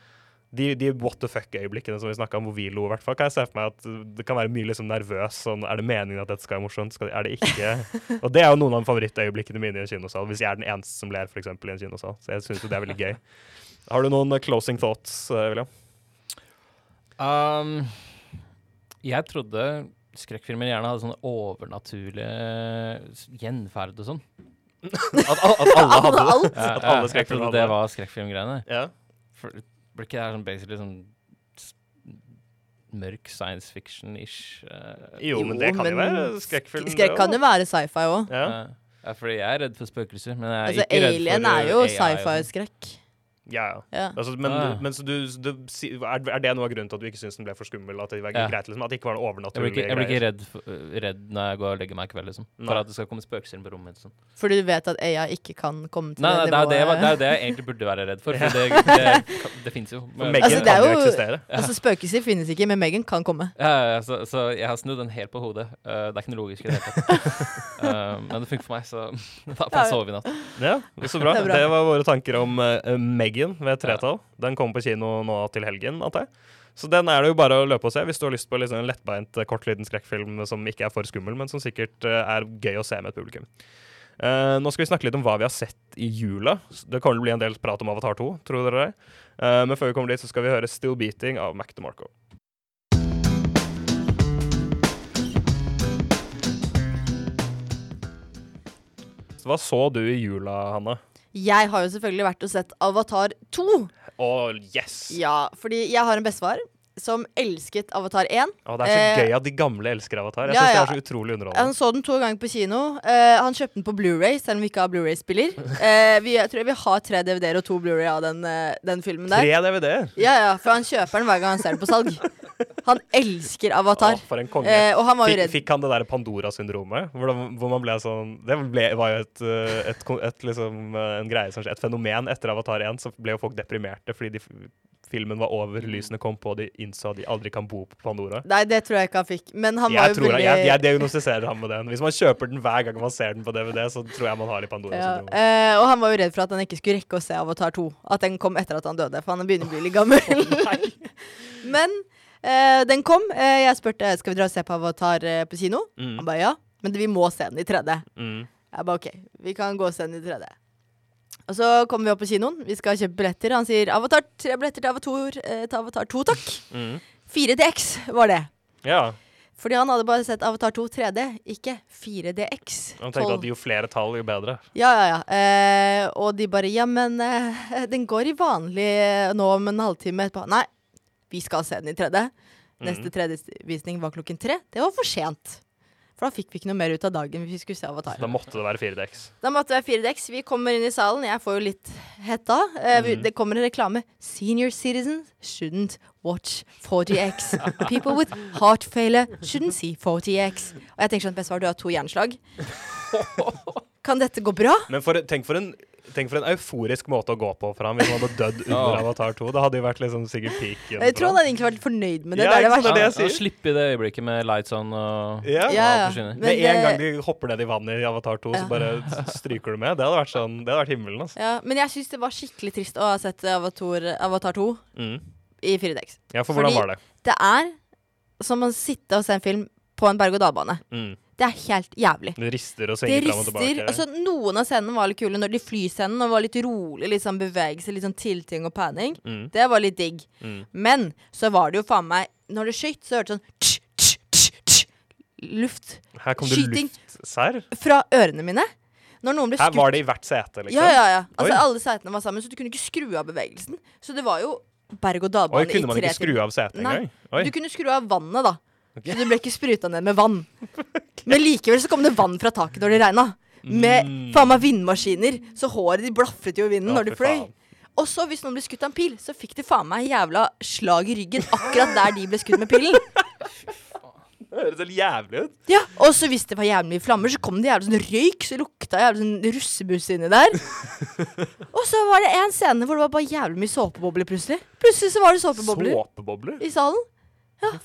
de, de what the fuck-øyeblikkene som vi snakka om, hvor vi lo, i hvert fall, kan jeg se for meg at uh, det kan være mye liksom nervøs. Sånn, er det meningen at dette skal være morsomt? Skal, er det ikke? Og det er jo noen av favorittøyeblikkene mine i en kinosal, hvis jeg er den eneste som ler, for eksempel, i en kinosal. Så jeg syns jo det er veldig gøy. Har du noen uh, closing thoughts, uh, William?
Um, jeg trodde skrekkfilmer gjerne hadde sånne overnaturlige s- gjenferd og sånn.
At, alle hadde det?
Alt!
At
Ja,
alle
jeg
skrekkfilmer
trodde
hadde
det
det.
var skrekkfilmgreiene.
Ja.
For Ble ikke det her sånn basically sånn s- mørk science fiction-ish? eh,
Jo, men det kan jo
men
være skrekkfilm. det
Skrekk kan
også.
jo være sci-fi òg.
ja.
eh, ja, fordi jeg er redd for spøkelser, men jeg er
Altså,
ikke redd for
Alien er
eh,
jo
AI og sånn.
sci-fi-skrekk.
Ja, ja.
Ja.
Altså, men
Ah.
men så du, du, si- er, er det noe av grunnen til at du ikke syns den ble for skummel? At det var
Ja.
greit, liksom, at det ikke var noe
Jeg blir
overnaturlig
ikke, jeg blir ikke
greier?
redd, for, eh, redd når jeg går og legger meg i kveld, liksom. For
Nei.
at det skal komme spøkelser inn på rommet. mitt, Sånn.
Fordi du vet at AI ikke kan komme til
Nei, nei, det er jo det, jeg- det, er jo det jeg egentlig burde være redd for, for det, det, det, fins jo.
For
Men-
Megan
Altså, det er
kan jo
jo-
eksistere.
Altså, Spøkelser finnes ikke, men Megan kan komme.
Ja, ja, ja, så, så jeg har snudd den helt på hodet. Eh, det er ikke noe logisk i det hele tatt. Eh, men det funker for meg, så da får jeg sove i natt.
Ja, så bra.
Det
det,
er bra.
var våre tanker om eh, Megan ved tretall. Den kommer på kino nå til helgen, antar jeg. Så den er det jo bare å løpe og se hvis du har lyst på liksom en lettbeint, eh, kortliten skrekkfilm som ikke er for skummel, men som sikkert eh, er gøy å se med et publikum. Eh, nå skal vi snakke litt om hva vi har sett i jula. S- Det kommer til å bli en del prat om Avatar 2, tror dere det? Eh, men før vi kommer dit, så skal vi høre 'Still Beating' av Mac DeMarco. Så Hva så du i jula, Hanne?
Jeg har jo selvfølgelig vært og sett Avatar 2.
Å, yes!
Ja, fordi jeg har en bestefar som elsket Avatar 1.
Å, det er så
Eh,
gøy at de gamle elsker Avatar. Jeg
ja,
synes
ja.
det er så utrolig underholdende.
Han så den to ganger på kino. Eh, han kjøpte den på Blu-ray, selv om vi ikke har Blu-ray-spiller. Eh, vi- jeg tror vi har tre DVD-er og to Blu-ray av den, eh, den filmen der.
Tre DVD-er!
Ja, ja, for han kjøper den hver gang han ser den på salg. Han elsker Avatar.
Å, for en konge.
Eh, og han var jo
Fikk,
redd.
fikk han det der Pandora-syndromet? Hvor, de- hvor man ble sånn Det ble, var jo et, eh, et, kon- et, liksom, eh, en greie som skje- Et fenomen etter Avatar 1, så ble jo folk deprimerte fordi de, f- filmen var over,
Mm.
lysene kom på, og de innså at de aldri kan bo på Pandora.
Nei, det tror jeg ikke han fikk. Men han var
Jeg,
jo
tror,
veldig
jeg, jeg diagnostiserer ham med den. Hvis man kjøper den hver gang man ser den på DVD, så tror jeg man har litt
ja,
Pandora-syndromet.
eh, og han var jo redd for at han ikke skulle rekke å se Avatar 2. At den kom etter at han døde, for han begynner å bli litt gammel. Men eh, den kom. Eh, jeg spurte skal vi dra og se på Avatar eh, på kino. Han ba ja, men vi må se den i 3D.
Mm.
Jeg ba OK, vi kan gå og se den i 3D. Og så kommer vi opp på kinoen, vi skal kjøpe billetter. Han sier Avatar, tre billetter til Avatar, eh, til Avatar 2, takk.
Mm.
4DX var det.
Ja.
Fordi han hadde bare sett Avatar 2 3D, ikke 4DX.
Han tenkte at
Tolv-
jo flere tall, jo bedre.
Ja, ja, ja. Eh, og de bare Ja, men eh, den går i vanlig eh, nå om en halvtime etterpå. Nei, vi skal se den i 3D. Neste 3D-visning var klokken tre. Det var for sent. For da fikk vi ikke noe mer ut av dagen. Vi skulle se Avatar.
Da måtte det være 4DX.
Da måtte det være 4DX. Vi kommer inn i salen. Jeg får jo litt hetta. Eh, vi- Det kommer en reklame. Senior citizens shouldn't watch 4DX. People with heart failure shouldn't see 4DX. Og jeg tenker sånn, bestefar, du har to hjerneslag. Kan dette gå bra?
Men for, tenk, for en, tenk for en euforisk måte å gå på for ham hvis han hadde dødd under Avatar 2. Det hadde jo vært liksom sikkert peaken.
Jeg
for
tror
ham.
han hadde egentlig vært fornøyd med det.
Ja,
det er det
ikke sant,
verste.
det jeg
Ja,
sier.
Slippe i det øyeblikket med lights on og
Ja.
Ja, ja.
Ja,
Men
forsvinner.
Med en gang
det-
de hopper ned i vannet i Avatar 2,
Ja.
så bare s- stryker du med. Det hadde vært, sånn, det hadde vært himmelen, altså.
ja, men jeg syns det var skikkelig trist å ha sett Avatar, Avatar 2
Mm.
i 4DX.
Ja, for
Fordi-
hvordan var det?
Det er som å sitte og se en film på en berg-og-dal-bane.
Mm.
Det er helt jævlig.
Det rister og
Det
svinger fram og
rister.
tilbake.
Altså, noen av scenene var litt kule. Når de flyscenen og var litt rolig, litt sånn bevegelse, litt sånn tilting og panning.
Mm.
Det var litt digg.
Mm.
Men så var det jo faen meg Når det skøyt, så hørtes det sånn tsk, tsk, tsk, tsk, luft
Her kom det
skyting.
luftsær.
fra ørene mine. Når noen ble
Her
skutt
var det i hvert sete, liksom.
Ja, ja, ja. Altså,
Oi.
alle setene var sammen, så du kunne ikke skru av bevegelsen. Så det var jo
Oi,
berg-og-dal-bane i tre
kunne man ikke skru
timer.
av setet
Nei.
engang? Oi.
Du kunne skru av vannet, da. Så du ble ikke spruta ned med vann. Men likevel så kom det vann fra taket når det regna. Med faen meg vindmaskiner. Så håret de blafret jo i vinden
Mm. Ja,
når de
fy
fløy.
faen.
Og så hvis noen ble skutt av en pil, så fikk de faen meg jævla slag i ryggen akkurat der de ble skutt med pilen.
Det høres helt jævlig ut.
Ja, Og så hvis det var jævlig mye flammer, så kom det jævlig sånn røyk. Så lukta jævlig sånn russebuss inni der. og så var det en scene hvor det var bare jævlig mye såpebobler plutselig. Plutselig så var det såpebobler
Såpebobler?
i salen.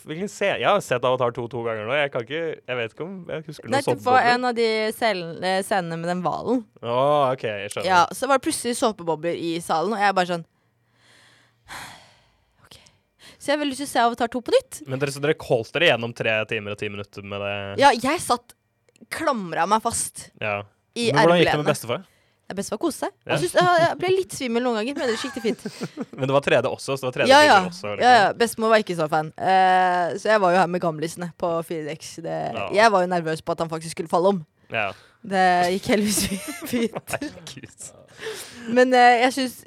Hvilken se- Jeg har sett Avatar 2 to ganger nå. Jeg, kan ikke, jeg vet ikke om jeg husker
Nei,
noen
det var
såpebobler.
en av de selen- eh, scenene med den hvalen.
Å, OK, jeg skjønner.
Ja, så var det plutselig såpebobler i salen, og jeg bare sånn Ok. Så jeg har veldig lyst til å se Avatar 2 på nytt.
Men dere, så dere holdt dere gjennom tre timer og ti minutter med det?
Ja, jeg satt Klamra meg fast
Ja.
i
Men hvordan gikk det med
ermelenene.
bestefar?
Det er best å kose seg.
Ja.
Jeg, synes, jeg jeg ble litt svimmel noen ganger, men ellers gikk det fint.
Men det var 3D også, så det var 3D
Ja, ja.
også.
ja, ja. Bestemor var ikke så fan. Eh, så jeg var jo her med gamlisene på 4DX. Det,
Ja.
Jeg var jo nervøs på at han faktisk skulle falle om.
ja.
Det gikk heldigvis fint.
Herregud.
Men eh, jeg syns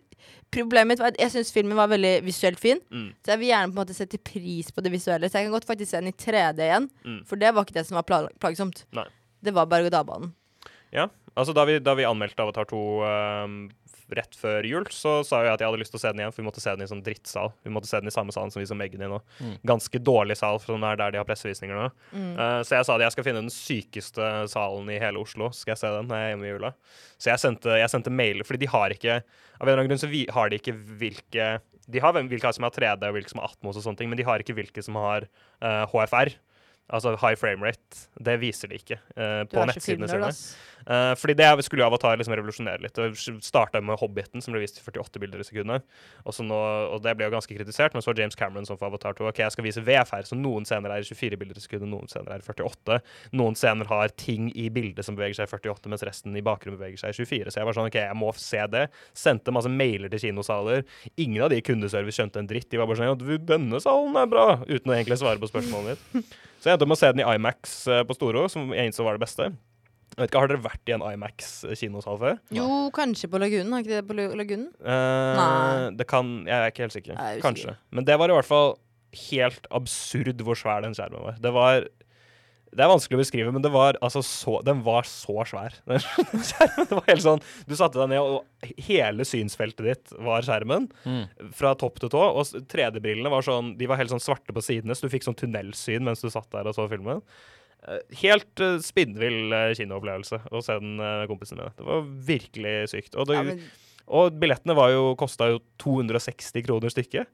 Problemet mitt var at jeg syns filmen var veldig visuelt fin.
Mm.
Så jeg vil gjerne på en måte sette pris på det visuelle. Så jeg kan godt faktisk se den i 3D igjen.
Mm.
For det var ikke det som var pla- plagsomt.
Nei.
Det var berg-og-dal-banen.
Ja, altså da vi, da vi anmeldte Avatar 2 ehm, f- rett før jul, så sa jeg at jeg hadde lyst til å se den igjen, for vi måtte se den i sånn drittsal. Vi måtte se den i samme salen som vi som Megan i nå. Ganske dårlig sal, for den er der de har pressevisninger nå.
Mm.
Eh, så jeg sa at jeg skal finne den sykeste salen i hele Oslo, skal jeg se den når jeg er hjemme i jula. Så jeg sendte, jeg sendte mail, fordi de har ikke, av en eller annen grunn så vi, har de ikke hvilke, de har hvem- hvilke som har 3D og hvilke som har Atmos og sånne ting, men de har ikke hvilke som har eh, HFR. Altså high frame rate. Det viser de ikke eh,
Du
på
er så
nettsidene sine.
filmnerd, ass.
Eh, fordi det skulle jo Avatar liksom revolusjonere litt. Det starta med Hobbiten, som ble vist i 48 bilder i sekundet. Og, så nå, og det ble jo ganske kritisert, men så var James Cameron som for Avatar 2. Ok, jeg skal vise VFR, så noen scener er i 24 bilder i sekundet, noen scener er i 48. Noen scener har ting i bildet som beveger seg i 48, mens resten i bakgrunnen beveger seg i 24. Så jeg var sånn, ok, jeg må se det. Sendte masse mailer til kinosaler. Ingen av de i kundeservice skjønte en dritt. De var bare sånn, ja, du, denne salen er bra, uten å egentlig svare på spørsmålet mitt. Så jeg endte opp med å se den i IMAX eh, på Storo, som jeg innså var det beste. Jeg vet ikke, Har dere vært i en IMAX-kinosal før?
Jo, kanskje på Lagunen. Har ikke det på Lu- Lagunen?
Eh, det kan, Jeg er ikke helt sikker.
Nei, jeg er usikker.
Kanskje. Men det var i hvert fall helt absurd hvor svær den skjermen var. Det var Det er vanskelig å beskrive, men det var, altså, så, den var så svær. Den skjermen, det var helt sånn, Du satte deg ned, og hele synsfeltet ditt var skjermen. Fra topp til tå. Og s- 3D-brillene var sånn, de var helt sånn svarte på sidene, så du fikk sånn tunnelsyn mens du satt der og så filmen. Eh, Helt eh, spinnvill eh, kinoopplevelse å se den eh, med kompisene mine. Det var virkelig sykt. Og, det,
Ja, men,
og billettene var jo, kosta jo 260 kroner stykket.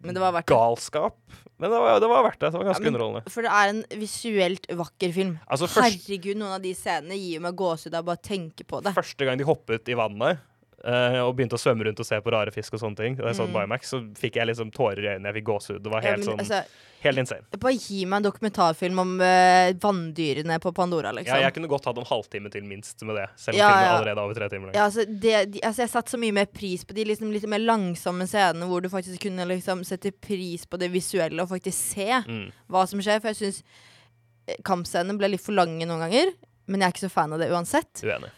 men det var verdt det.
Galskap. Men det var, det var verdt det. Det var ganske
Ja, men-
underholdende.
For det er en visuelt vakker film.
Altså, først-
Herregud, noen av de scenene gir meg gåsehud av bare å tenke på det.
Første gang de hoppet i vannet eh, og begynte å svømme rundt og se på rare fisk og sånne ting, da jeg så Bimax, så fikk jeg liksom tårer i øynene. Jeg fikk gåsehud. Det var
Mm. Ja,
helt,
men,
sånn,
altså,
helt insane.
bare gi meg en dokumentarfilm om eh, vanndyrene på Pandora, liksom.
Ja, jeg kunne godt hatt en halvtime til minst med det, selv om
Ja,
filmen
ja.
allerede er over tre timer lang.
Ja, altså, det, de, altså Jeg satte så mye mer pris på de liksom, litt mer langsomme scenene hvor du faktisk kunne liksom, sette pris på det visuelle og faktisk se
Mm.
hva som skjer. For jeg syns eh, kampscenene ble litt for lange noen ganger. Men jeg er ikke så fan av det uansett.
Uenig.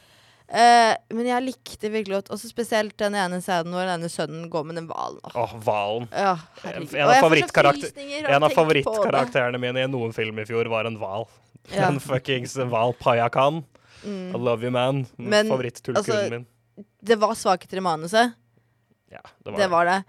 Eh, men jeg likte virkelig godt Også spesielt den ene scenen hvor denne sønnen går med den hvalen. Åh,
Åh, hvalen.
Ja,
En av,
herregud. Og jeg får så
favorittkarakter-
frysninger av å
en av
tenke på det.
favorittkarakterene mine i noen film i fjor var en hval.
Ja. Mm.
En fuckings hval Payakan. I love you, man.
Men,
Favoritttullkulen
altså,
min.
Det var svakheter i manuset.
Ja, det var
Det
det.
var det.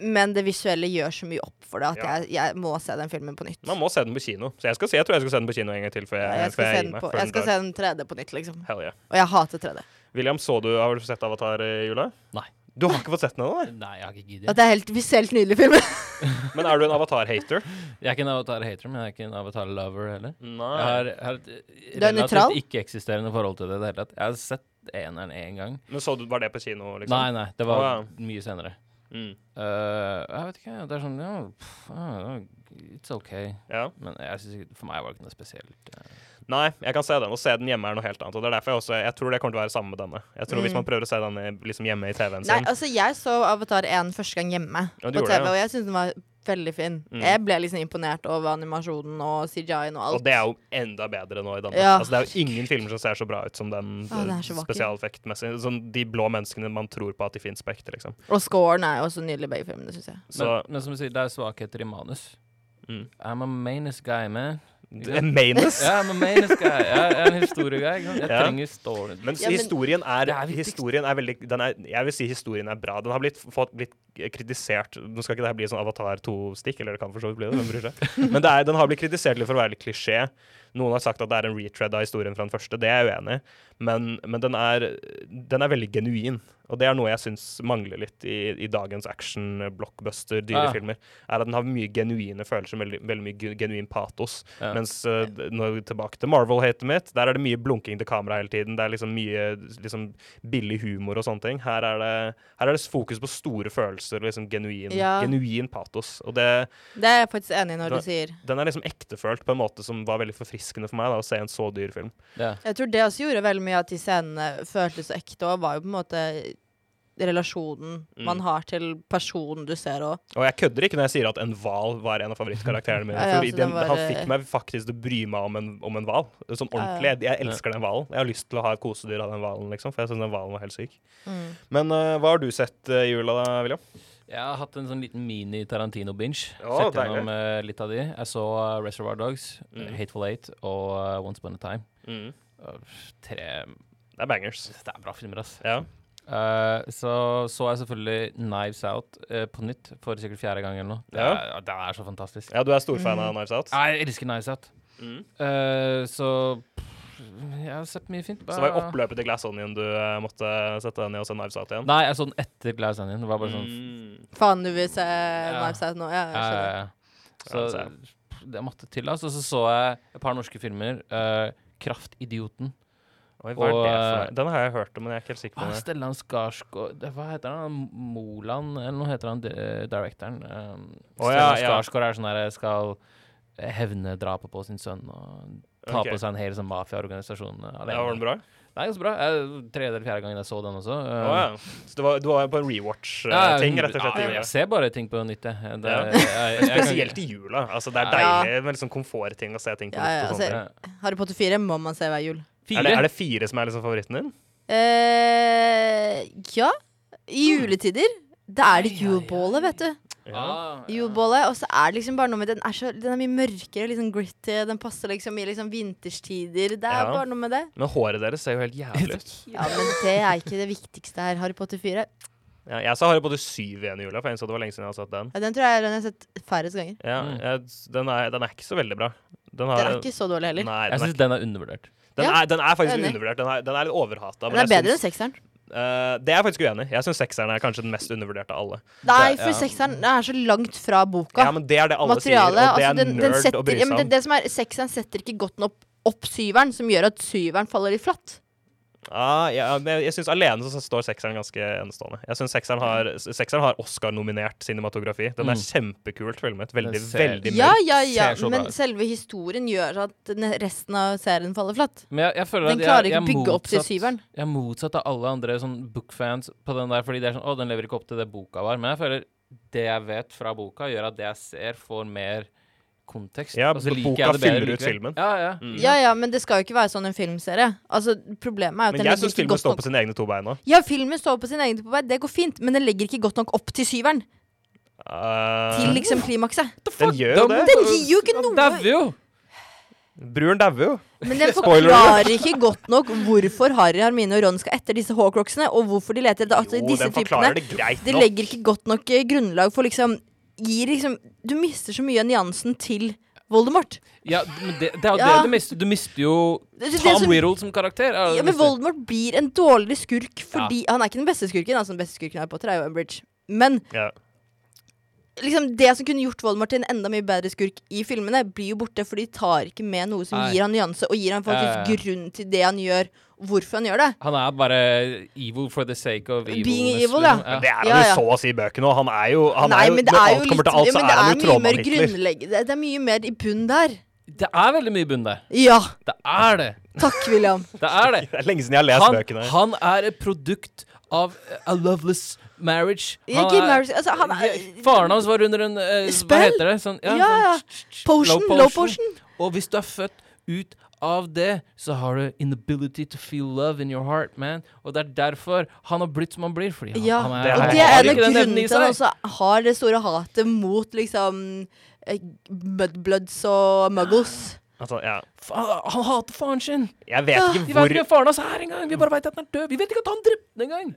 Men det visuelle gjør så mye opp for det at
Ja.
jeg, jeg må se den filmen på nytt.
Man må se den på kino. Så jeg, skal, se- jeg tror jeg skal se den på kino en gang til før jeg,
Ja,
før
jeg skal,
jeg
se
gir
den
meg.
på,
før
jeg
den
skal
dør.
se den 3D på nytt, liksom.
Hell yeah.
Og jeg hater 3D.
William, så du, har du sett Avatar i jula?
Nei.
Du har ikke fått sett den ennå? nei?
Nei, jeg har ikke
At
giddet.
det er helt visuelt nydelig film.
Men er du en Avatar-hater?
Jeg er ikke en avatar-hater, men jeg er ikke en avatar-lover heller. Jeg
Nei.
har, har et
Du er nøytral?
relativt ikke-eksisterende forhold til det i det hele tatt. Jeg har sett eneren én gang.
Men så du var det på kino, liksom?
Nei, nei, det var
Å,
mye senere.
Mm.
Eh, jeg vet ikke, det er sånn ja, pff, ja, It's okay.
Ja.
Men jeg synes ikke, for meg var det ikke noe spesielt. eh.
nei, jeg kan se den. Å se den hjemme er noe helt annet. Og det er derfor jeg også Jeg tror det kommer til å være samme med denne. Jeg tror Hvis man prøver å se denne liksom hjemme i TV-en
Mm. Nei,
sin
altså, jeg så Avatar 1 første gang hjemme
Ja,
på
du
TV,
gjorde det, ja. Mm.
og jeg syntes den var veldig fin. Jeg ble liksom imponert over animasjonen og CJI-en og
Og
alt.
det er jo enda bedre nå i Danmark.
Ja.
Altså, det er jo ingen filmer som ser så bra ut som den eh,
Å, det er så vakkert.
spesialeffektmessig. Sånn de blå menneskene man tror på at de finnes på ekte, liksom.
Og scoren er jo også nydelig i begge filmene, syns jeg.
Så
men, men som du sier, det er svakheter i manus.
Mm.
I'm a manus guy, man.
det- Manus!
Ja, I'm a manus guy. Jeg er en historieguy. ikke sant? Jeg
Ja.
trenger story.
Men,
Ja, men-
historien er,
Det er viktigst.
historien er veldig den er, Jeg vil si historien er bra. Den har blitt, fått litt kritisert Nå skal ikke det her bli sånn Avatar 2-stikk, eller det kan for så vidt bli det, hvem bryr seg. Men det er, den har blitt kritisert litt for å være litt klisjé. Noen har sagt at det er en retread av historien fra den første. Det er jeg uenig i. Men, men den, er, den er veldig genuin. Og det er noe jeg syns mangler litt i, i dagens action-blockbuster,
Ja.
dyrefilmer. Er at den har mye genuine følelser, veldig, veldig mye gu- genuin patos.
Ja.
Mens eh, d- når tilbake til Marvel-hatet mitt, der er det mye blunking til kamera hele tiden. Det er liksom mye liksom, billig humor og sånne ting. Her er det, her er det fokus på store følelser og liksom genuin,
Ja.
genuin patos. Og det,
Det er jeg faktisk enig i når
Da-
du sier.
den er liksom ektefølt på en måte som var veldig forfriskende for meg, da, å se en så dyr film.
Ja.
Jeg tror det også gjorde veldig mye at de scenene føltes ekte, og var jo på en måte relasjonen man har til personen du ser òg.
Og jeg kødder ikke når jeg sier at en hval var en av favorittkarakterene mine.
Ja, ja,
for den,
altså, den var,
han
eh,
fikk meg faktisk til å bry meg om en, om en hval. Sånn
Ja,
ordentlig. Jeg, jeg elsker den hvalen. Jeg har lyst til å ha et kosedyr av den hvalen, liksom, for jeg syns den hvalen var helt syk.
Mm.
Men eh, hva har du sett eh, i jula, da, William?
Jeg har hatt en sånn liten mini-Tarantino-binge.
Å, deilig.
Sett
Mm.
gjennom eh, litt av de. Jeg så eh, Reservoir Dogs, eh, Hateful Eight og eh, Once Upon a Time. Og Tre
Det er bangers.
Det er bra filmer, ass.
Ja.
Eh, så så jeg selvfølgelig Knives Out eh, på nytt for sikkert fjerde gang eller noe. Det er,
Ja.
det er så fantastisk.
ja, du er storfan
Mm.
av Knives Out.
Jeg elsker Knives Out. Eh, så pff, jeg har sett mye fint.
Så var jo oppløpet til Glass Onion du eh, måtte sette deg ned og se Knives Out igjen. Mm.
Nei, jeg så den etter Glass Onion. Det var bare sånn
Faen, du vil se Knives Out nå? Ja, Eh, jeg
Ja,
skjønner.
ja, ja.
Ja,
Så pff, det måtte til, altså. Og så så jeg et par norske filmer. eh, 'Kraftidioten'.
Oi, hva er
Og,
det for
eh,
noe? Den har jeg hørt om, men jeg er ikke helt sikker på
Ah,
det.
Stellan Skarsgård det- Hva heter han? Moland, eller noe heter han, di- eh, directoren. Um,
Å, ja,
Stellan
ja.
Skarsgård er sånn der skal hevne drapet på sin sønn og ta
Ok.
på seg en hel sånn mafiaorganisasjon eh,
Ja, var den
alene.
bra?
Nei, ganske bra. Jeg, tredje eller fjerde gangen jeg så den også.
Å
eh,
ja. Så du var, du var på en
ja,
rewatch-ting, rett og slett? i
Ja,
jula.
jeg ser bare ting på nytt, jeg. Det-
Ja.
jeg- jeg- jeg kan-
Spesielt i jula. Altså, det er
Ja.
deilig med liksom komfortting å se ting på
Ja, ja,
nytt. og sånne ting.
altså, Harry Potter 4 må man se hver jul.
Fire.
Er det, er det fire som er liksom favoritten din?
eh ja. I juletider. Da er det julebålet, vet du. U-bolle. Og så er det liksom bare noe med den er, så, den er mye mørkere, liksom gritty. Den passer liksom i liksom vinterstider. Det er
Ja.
bare noe med det.
Men håret deres ser jo helt jævlig ut.
Ja, men det er ikke det viktigste her. Harry Potter 4.
Ja, jeg sa Harry Potter 7 igjen i jula, for jeg innså det var lenge siden jeg har sett den.
Ja, den tror jeg er den jeg har sett færrest ganger.
Ja,
Mm.
jeg, den, er, den er ikke så veldig bra. Den
Den er ikke så dårlig heller.
Nei,
Jeg
den er,
syns den er undervurdert.
den
Ja,
er, den er faktisk litt
enig.
undervurdert. Den er, den er litt overhata.
Den er bedre enn sekseren.
eh, det er jeg faktisk uenig i. Jeg syns sekseren er kanskje den mest undervurderte av alle.
Nei,
Det-
for
ja.
sekseren den er så langt fra boka.
Ja, men Det er det alle
Materialet
sier, og det
altså,
er
den, den
nerd
setter,
å bry
ja,
seg om.
men det, det som er, Sekseren setter ikke godt nok opp syveren, som gjør at syveren faller i flatt.
Ah, ja, men jeg jeg synes Alene så står sekseren ganske enestående. Jeg synes Sekseren har,
Mm.
sekseren har Oscar-nominert cinematografi. Den er kjempekult filmet. Veldig,
Den ser-
veldig
Ja,
mørk.
ja, ja,
ser så bra
men
ut.
selve historien gjør at den- resten av serien faller flatt.
Men jeg, jeg føler
Den
at jeg,
klarer
jeg
ikke
er
bygge opp til
motsatt-
syveren.
Jeg er motsatt av alle andre sånn bookfans på den der, fordi det er sånn Å, den lever ikke opp til det boka var. Men jeg føler det jeg vet fra boka, gjør at det jeg ser, får mer kontekst.
Ja,
og så
b-
liker
boka
jeg det bedre
fyller ut
likevel.
filmen. Mm.
Ja, ja.
Ja, ja, men det skal jo ikke være sånn en filmserie. Altså, Problemet er jo
Men
at den
jeg
legger
syns
ikke
filmen
godt
står
nok
på sine egne to bein nå.
Ja, filmen står på sin egen på vei, det går fint, men den legger ikke godt nok opp til syveren.
Eh,
Til liksom klimakset.
den gjør jo
Da-
det.
Den gir jo ikke
Han
noe
dauer jo!
Bruren dauer jo.
Men den
Spoiler
forklarer ikke godt nok hvorfor Harry, Hermine og Ron skal etter disse Hawkrocksene, og hvorfor de leter etter
Jo,
altså, disse
den forklarer
typene.
det greit
Det
nok.
legger ikke godt nok eh, grunnlag for liksom Gir liksom Du mister så mye av nyansen til Voldemort.
Ja, d- men det, det er jo
Ja.
det du mister. Du mister jo
Det- det- det
Tom
som-
Riddle som karakter. er det du
Ja, men
mister.
Voldemort blir en dårligere skurk fordi Han er ikke den beste skurken, altså den beste skurken i Harry Potter er jo Umbridge. Men
Ja.
liksom det som kunne gjort Voldemort til en enda mye bedre skurk i filmene, blir jo borte, for de tar ikke med noe som
Nei.
gir han nyanse, og gir han faktisk
Ja, ja, ja.
grunn til det han gjør, og hvorfor han gjør det.
Han er bare evil for the sake of evilness.
Being evil, ja.
liksom.
Det er han
Ja,
jo
ja.
så å si i bøkene, og han er jo, han
Nei,
er jo
men det
Når
er jo
alt
litt
kommer til alt, så
men
er han jo
det er mye mer
trollmann Hitler.
grunnleggende. Det, det er mye mer i bunn der.
Det er veldig mye bunn der.
Ja.
Det er det.
Takk, William.
Det er det.
Det er lenge siden jeg har lest
Han,
bøkene.
han er et produkt av eh, a loveless marriage.
Ja,
Han
Gil
er-
Marriage, altså, han er-
Ja, Faren hans var under en eh, Hva
Spell?
heter det? Sånn, ja,
Ja, ja.
sånn, tsk, tsk, tsk,
Potion, low potion.
Og hvis du er født ut av det, så har du inability to feel love in your heart, man. Og det er derfor han har blitt som han blir. Fordi han,
Ja.
han
Det
er,
er-
han
Og det
har
er en av
ikke den evnen i
grunnene til han
seg.
også har det store hatet mot liksom eh, Mudbloods og Muggles.
Altså, ja.
Fa- Han hater faren sin.
Jeg vet
Vi
ikke
vet ikke
hvor
hvem faren hans er engang. Vi bare vet at han er død. Vi vet ikke at han drepte den engang.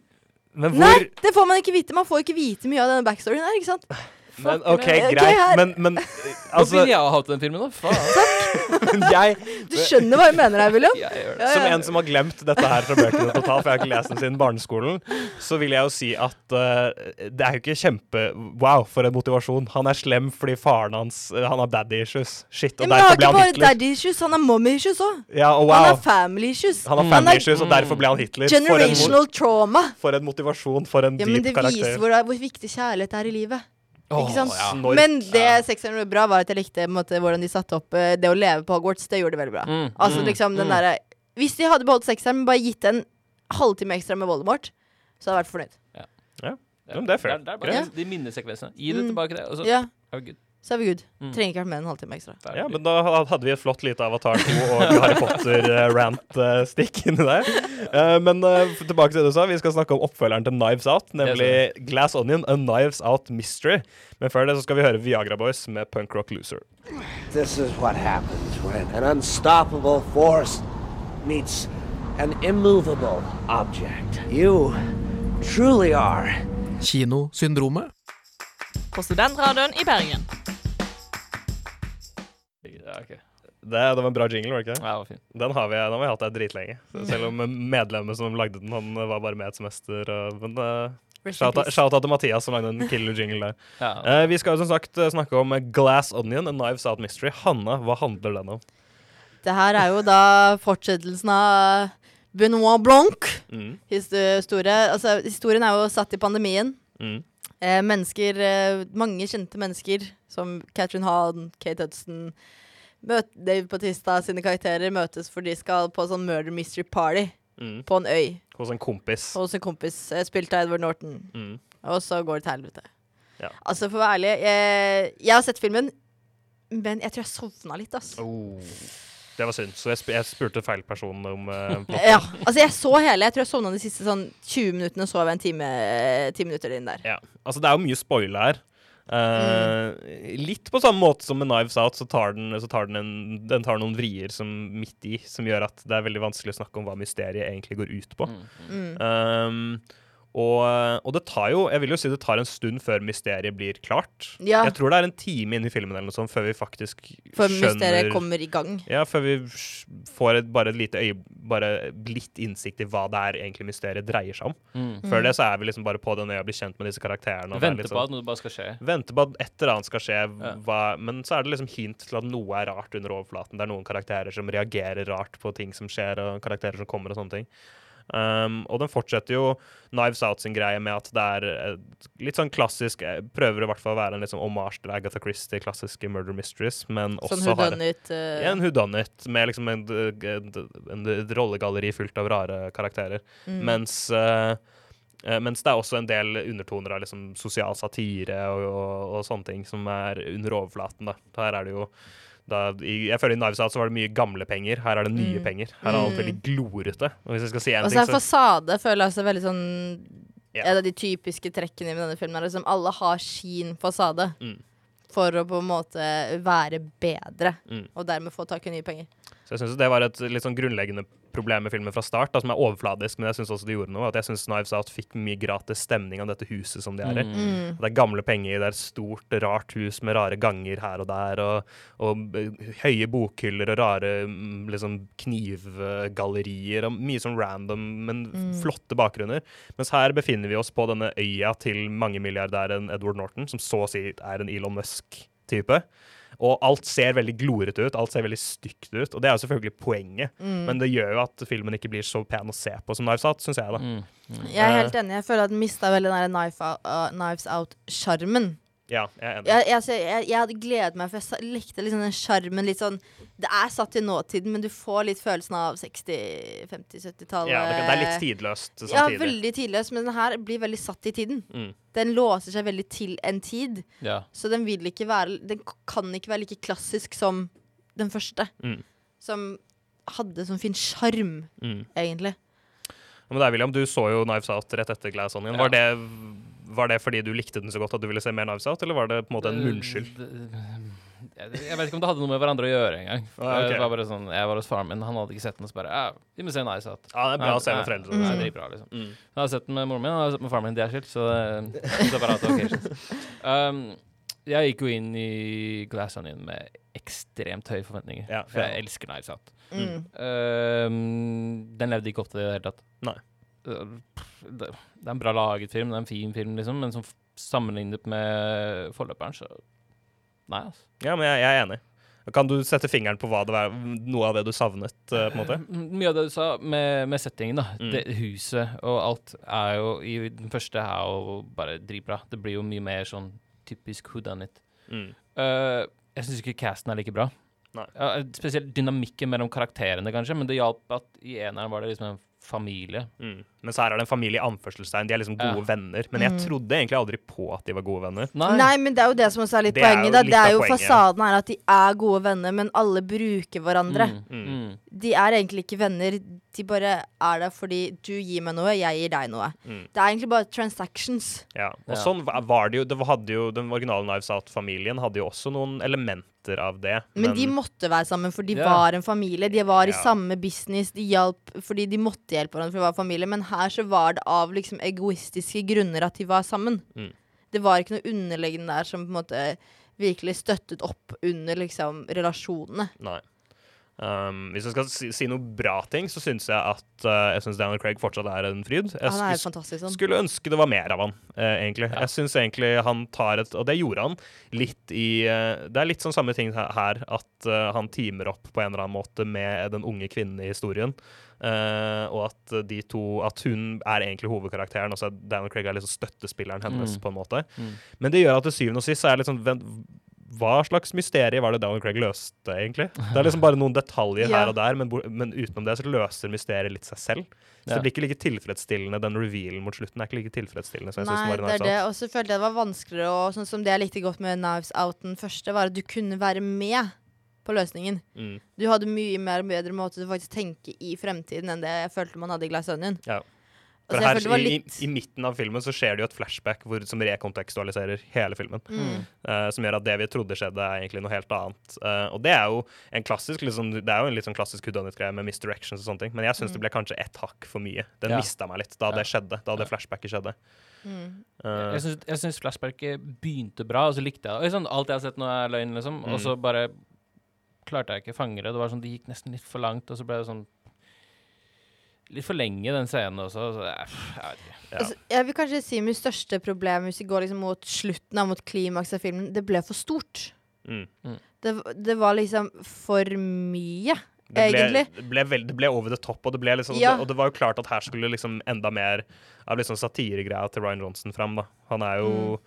Men
Nei,
hvor
det får man ikke vite. Man får ikke vite mye av denne backstoryen her, ikke sant?
men, OK,
det. Det
greit,
her-
men, men
Altså,
Altså,
jeg har hatt den filmen, da.
Sånn.
Faen.
men jeg
Du skjønner hva jeg mener her, William.
Jeg gjør det.
Som en som har glemt dette her fra bøkene totalt, for jeg har ikke lest den siden barneskolen, så vil jeg jo si at eh, det er jo ikke kjempe Wow, for en motivasjon. Han er slem fordi faren hans eh, Han har daddy issues. Shit,
Ja,
og
men han har
derfor ble
ikke
han
bare
Hitler.
daddy issues, han har mommy issues òg.
Ja, og
Han
wow.
har family issues.
Han har
Mm.
family issues, og derfor ble han Hitler. For en, mot-
generational trauma.
for en motivasjon, for en
Ja, men
dyp
det viser
karakter.
hvor, hvor viktig kjærlighet er i livet. Ikke sant?
ja. Snork.
Men det sekseren gjorde bra, var at jeg likte på en måte, hvordan de satte opp eh, det å leve på Hogwarts. Det gjorde de veldig bra.
Mm.
altså liksom den derre Hvis de hadde beholdt sekseren, men bare gitt en halvtime ekstra med Voldemort, så hadde jeg vært fornøyd.
Ja, men det er fair.
Det er bare
Ja.
de minnesekvensene. Gi det
Mm.
tilbake, det. Og så
Ja,
er vi good.
så er vi good.
Mm.
Trenger ikke vært med en halvtime ekstra.
Da er
Ja,
vi
men da hadde vi et flott lite Avatar 2 og en Harry Potter-rant-stikk inni der. Eh, Men eh, f- tilbake til det du sa, vi skal snakke om oppfølgeren til Knives Out, nemlig Glass Onion, A Knives Out Mystery. Men før det så skal vi høre Viagra Boys med Punk Rock Loser.
This is what happens when an unstoppable force meets an immovable object. You truly are
Kinosyndromet.
På Studentradioen i Bergen.
good. Ja, ok.
Det, det var en bra jingle, var det ikke det?
Ja, det var fint.
Den har vi, den har vi hatt der dritlenge. Selv om eh, medlemmet som lagde den, han eh, var bare med et semester. og- Men eh,
Rest in
shout-out
peace.
shout-out til Mathias som lagde en killer jingle der.
Ja.
Eh, Vi skal jo som sagt eh, snakke om Glass Onion, A Knives Out Mystery. Hanna, hva handler den om?
Det her er jo da fortsettelsen av Benoit Blanc.
Mm.
His- eh, Store, altså, historien er jo satt i pandemien.
Mm.
Eh, mennesker, eh, mange kjente mennesker, som Catherine Hahn, Kate Hudson møt, Dave Bautista sine karakterer møtes for de skal på sånn murder mystery party
Mm.
på en øy
Hos en kompis.
hos en kompis, eh, spilt av Edward Norton.
Mm.
Og så går det til helvete.
Ja.
Altså, for å være ærlig, jeg, jeg har sett filmen, men jeg tror jeg sovna litt, ass.
Oh. Det var synd. Så jeg, sp jeg spurte feil person om eh, plott.
Ja, altså jeg så hele. Jeg tror jeg sovna de siste sånn 20 minuttene, og sov jeg en time, eh, 10 minutter inn der.
ja. Altså, det er jo mye spoiler her. Eh,
Mm.
litt på samme måte som med Knives Out, så tar den, så tar den, en, den tar noen vrier som midt i, som gjør at det er veldig vanskelig å snakke om hva mysteriet egentlig går ut på.
Mm.
Eh, og, og det tar jo jeg vil jo si det tar en stund før mysteriet blir klart.
Ja.
Jeg tror det er en time inn i filmen eller noe sånt før vi faktisk
Før
skjønner
mysteriet kommer i gang.
Ja, før vi sj- får et, bare et lite øye, bare litt innsikt i hva det er egentlig mysteriet dreier seg om.
Mm.
Før
Mm.
det så er vi liksom bare på det når jeg blir kjent med disse karakterene. og det er
Vente
litt
på
sånn-
at noe bare skal skje.
Vente på at et eller annet skal skje, hva, men så er det liksom hint til at noe er rart under overflaten. Det er noen karakterer som reagerer rart på ting som skjer, og karakterer som kommer og sånne ting. Um, og den fortsetter jo Knives Out sin greie med at det er eh, litt sånn klassisk eh, Prøver i hvert fall å være en litt sånn omarsj til Agatha Christie, klassiske murder mysteries, men
Sånn
også har
whodunit, eh.
Ja, en whodunit med liksom en, en, en, et rollegalleri fullt av rare karakterer.
Mm.
Mens eh, Eh, Mens det er også en del undertoner av liksom sosial satire og, og, og sånne ting som er under overflaten. Da. Her er det jo da, i, Jeg føler i Knives Out så var det mye gamle penger. Her er det nye
Mm.
penger. Her er alt
Mm.
veldig glorete. Og hvis jeg skal si en
Og så
ting,
er fasade føler jeg også veldig sånn
Ja.
En av de typiske trekkene med denne filmen er liksom alle har sin fasade.
Mm.
For å på en måte være bedre,
Mm.
og dermed få tak i nye penger.
Så jeg synes det var et litt sånn grunnleggende problem med filmen fra start, da, som er overfladisk, men jeg syns også det gjorde noe. At jeg syns Knives Out fikk mye gratis stemning av dette huset som de er i.
Mm.
Det er gamle penger, det er et stort, rart hus med rare ganger her og der, og, og eh, høye bokhyller og rare mm, liksom, knivgallerier og mye sånn random, men
Mm.
flotte bakgrunner. Mens her befinner vi oss på denne øya til mangemilliardæren Edward Norton, som så å si er en Elon Musk-type. Og alt ser veldig glorete ut, alt ser veldig stygt ut. Og det er jo selvfølgelig poenget,
Mm.
men det gjør jo at filmen ikke blir så pen å se på som Knives Out, syns jeg, da.
Jeg er
Eh,
helt enig. Jeg føler at den mista veldig den der knife out- uh, Knives Out-sjarmen.
Ja, jeg er enig.
Jeg, jeg, altså, jeg, jeg hadde gledet meg, for jeg sa- likte liksom den sjarmen litt sånn Det er satt i nåtiden, men du får litt følelsen av 60-, 50-, 70-tallet.
Ja, det, kan- det er litt tidløst samtidig.
eh, Ja, veldig tidløst, men den her blir veldig satt i tiden.
Mm.
Den låser seg veldig til en tid,
Ja.
så den vil ikke være Den k- kan ikke være like klassisk som den første,
Mm.
som hadde sånn fin sjarm,
Mm.
egentlig.
Men det er William, du så jo Knives Out rett etter Glass Onion. Var, det, var det fordi du likte den så godt at du ville se mer Knives Out, eller var det på en måte en
Mm.
munnskyld?
Jeg jeg vet ikke om det hadde noe med hverandre å gjøre engang.
Ah, ok.
Det var bare sånn, jeg var hos faren min, han hadde ikke sett den, og så bare ja, Vi må se Nice Out.
Ja, det er bra
Nei,
å se med
nei,
foreldre.
nei,
Mm.
Det er bra, liksom.
Mm.
Jeg har sett den med moren min, og jeg har sett den med faren min, de er skilt, så det er separate occasions. Um, jeg gikk jo inn i Glass Onion med ekstremt høye forventninger,
Ja,
for
ja.
jeg elsker Nice Out.
Mm.
Um, den levde ikke opp til det i det hele tatt.
Nei.
Uh, Det, det er en bra laget film, det er en fin film, liksom, men som f- sammenlignet med forløperen, så Nei, altså.
Ja, men jeg, jeg er enig. Kan du sette fingeren på hva det var, noe av det du savnet? eh, på en måte?
M- Mm, Mye av det du sa med, med settingen, da.
Mm.
Det, huset og alt er jo i Den første er jo bare dritbra. Det blir jo mye mer sånn typisk whodunit.
Mm.
Uh, jeg syns ikke casten er like bra. Ja, spesielt dynamikken mellom karakterene, kanskje, men det hjalp at i eneren var det liksom en familie.
Mm. Mens her er det en familie i anførselstegn. De er liksom gode
Ja.
venner. Men jeg
Mm.
trodde egentlig aldri på at de var gode venner.
Nei. men det er jo det som også er litt
Det er
poenget.
jo
da.
litt
det
av
er jo
poenget.
fasaden her at de er gode venner, men alle bruker hverandre.
Mm, mm.
De er egentlig ikke venner. De bare er der fordi du gir meg noe, jeg gir deg noe.
Mm.
Det er egentlig bare transactions.
Ja, og
Ja.
sånn va- var det jo, det hadde jo Den originale Knives Out-familien hadde jo også noen elementer av det.
Men de måtte være sammen, for de
Ja.
var en familie. De var i
Ja.
samme business. De hjalp fordi de måtte hjelpe hverandre, for de var familie. Men her så var det av liksom egoistiske grunner at de var sammen.
Mm.
Det var ikke noe underliggende der som på en måte virkelig støttet opp under liksom relasjonene.
Nei. Um, hvis jeg skal si, si noe bra ting, så syns jeg at uh, Jeg synes Daniel Craig fortsatt er en fryd. Jeg
Han
sku-
er jo fantastisk
liksom.
sånn.
skulle ønske det var mer av han, eh, egentlig. Jeg syns egentlig han tar et Og det gjorde han litt i eh, Det er litt sånn samme ting he- her, at eh, han teamer opp på en eller annen måte med den unge kvinnen i historien. Eh, og at eh, de to At hun er egentlig hovedkarakteren, og så er Daniel Craig er liksom støttespilleren hennes,
Mm.
på en måte.
Mm.
Men det gjør at til syvende og sist så er det litt sånn vent, hva slags mysterium var det Daniel Craig løste, egentlig? Det er liksom bare noen detaljer
Ja.
her og der, men, bo- men utenom det så løser mysteriet litt seg selv. Så
Ja.
det blir ikke like tilfredsstillende, den revealen mot slutten er ikke like tilfredsstillende. som jeg synes
Nei,
den
det
var sånn. i
er
Knives
det.
Out.
Og så følte jeg det var vanskeligere å Sånn som det jeg likte godt med Knives Out den første, var at du kunne være med på løsningen.
Mm.
Du hadde mye mer bedre måte til å faktisk tenke i fremtiden enn det jeg følte man hadde i Glass Onion.
Ja. For
Altså, jeg følte det var
her, i, i,
litt-
I midten av filmen så skjer det jo et flashback hvor, som rekontekstualiserer hele filmen.
Mm.
Eh, som gjør at det vi trodde skjedde, er egentlig noe helt annet. Eh, og det er jo en klassisk liksom, det er jo en litt sånn klassisk hoodanit-greie med misdirections og sånne ting, men jeg
Mm.
syns det ble kanskje ett hakk for mye. Den
Ja.
mista meg litt da det skjedde, da det flashbacket skjedde.
Mm.
Eh,
Jeg syns- Jeg syns flashbacket begynte bra, og så likte jeg det. Oi, Sånn, alt jeg har sett nå, er løgn, liksom.
Mm.
Og så bare klarte jeg ikke å fange det. Det var sånn, Det gikk nesten litt for langt, og så ble det sånn Litt for lenge, den scenen også. Så jeg, jeg vet ikke.
ja.
Altså, jeg vil kanskje si mitt største problem hvis vi går liksom mot slutten av mot klimaks av filmen. Det ble for stort.
Mm.
Det, det var liksom for mye.
Det ble,
Egentlig.
Det ble, veld, det ble over the top, og det, ble liksom,
Ja.
og det var jo klart at her skulle liksom enda mer av liksom satiregreia til Ryan Johnson fram. Da. Han er jo
Mm.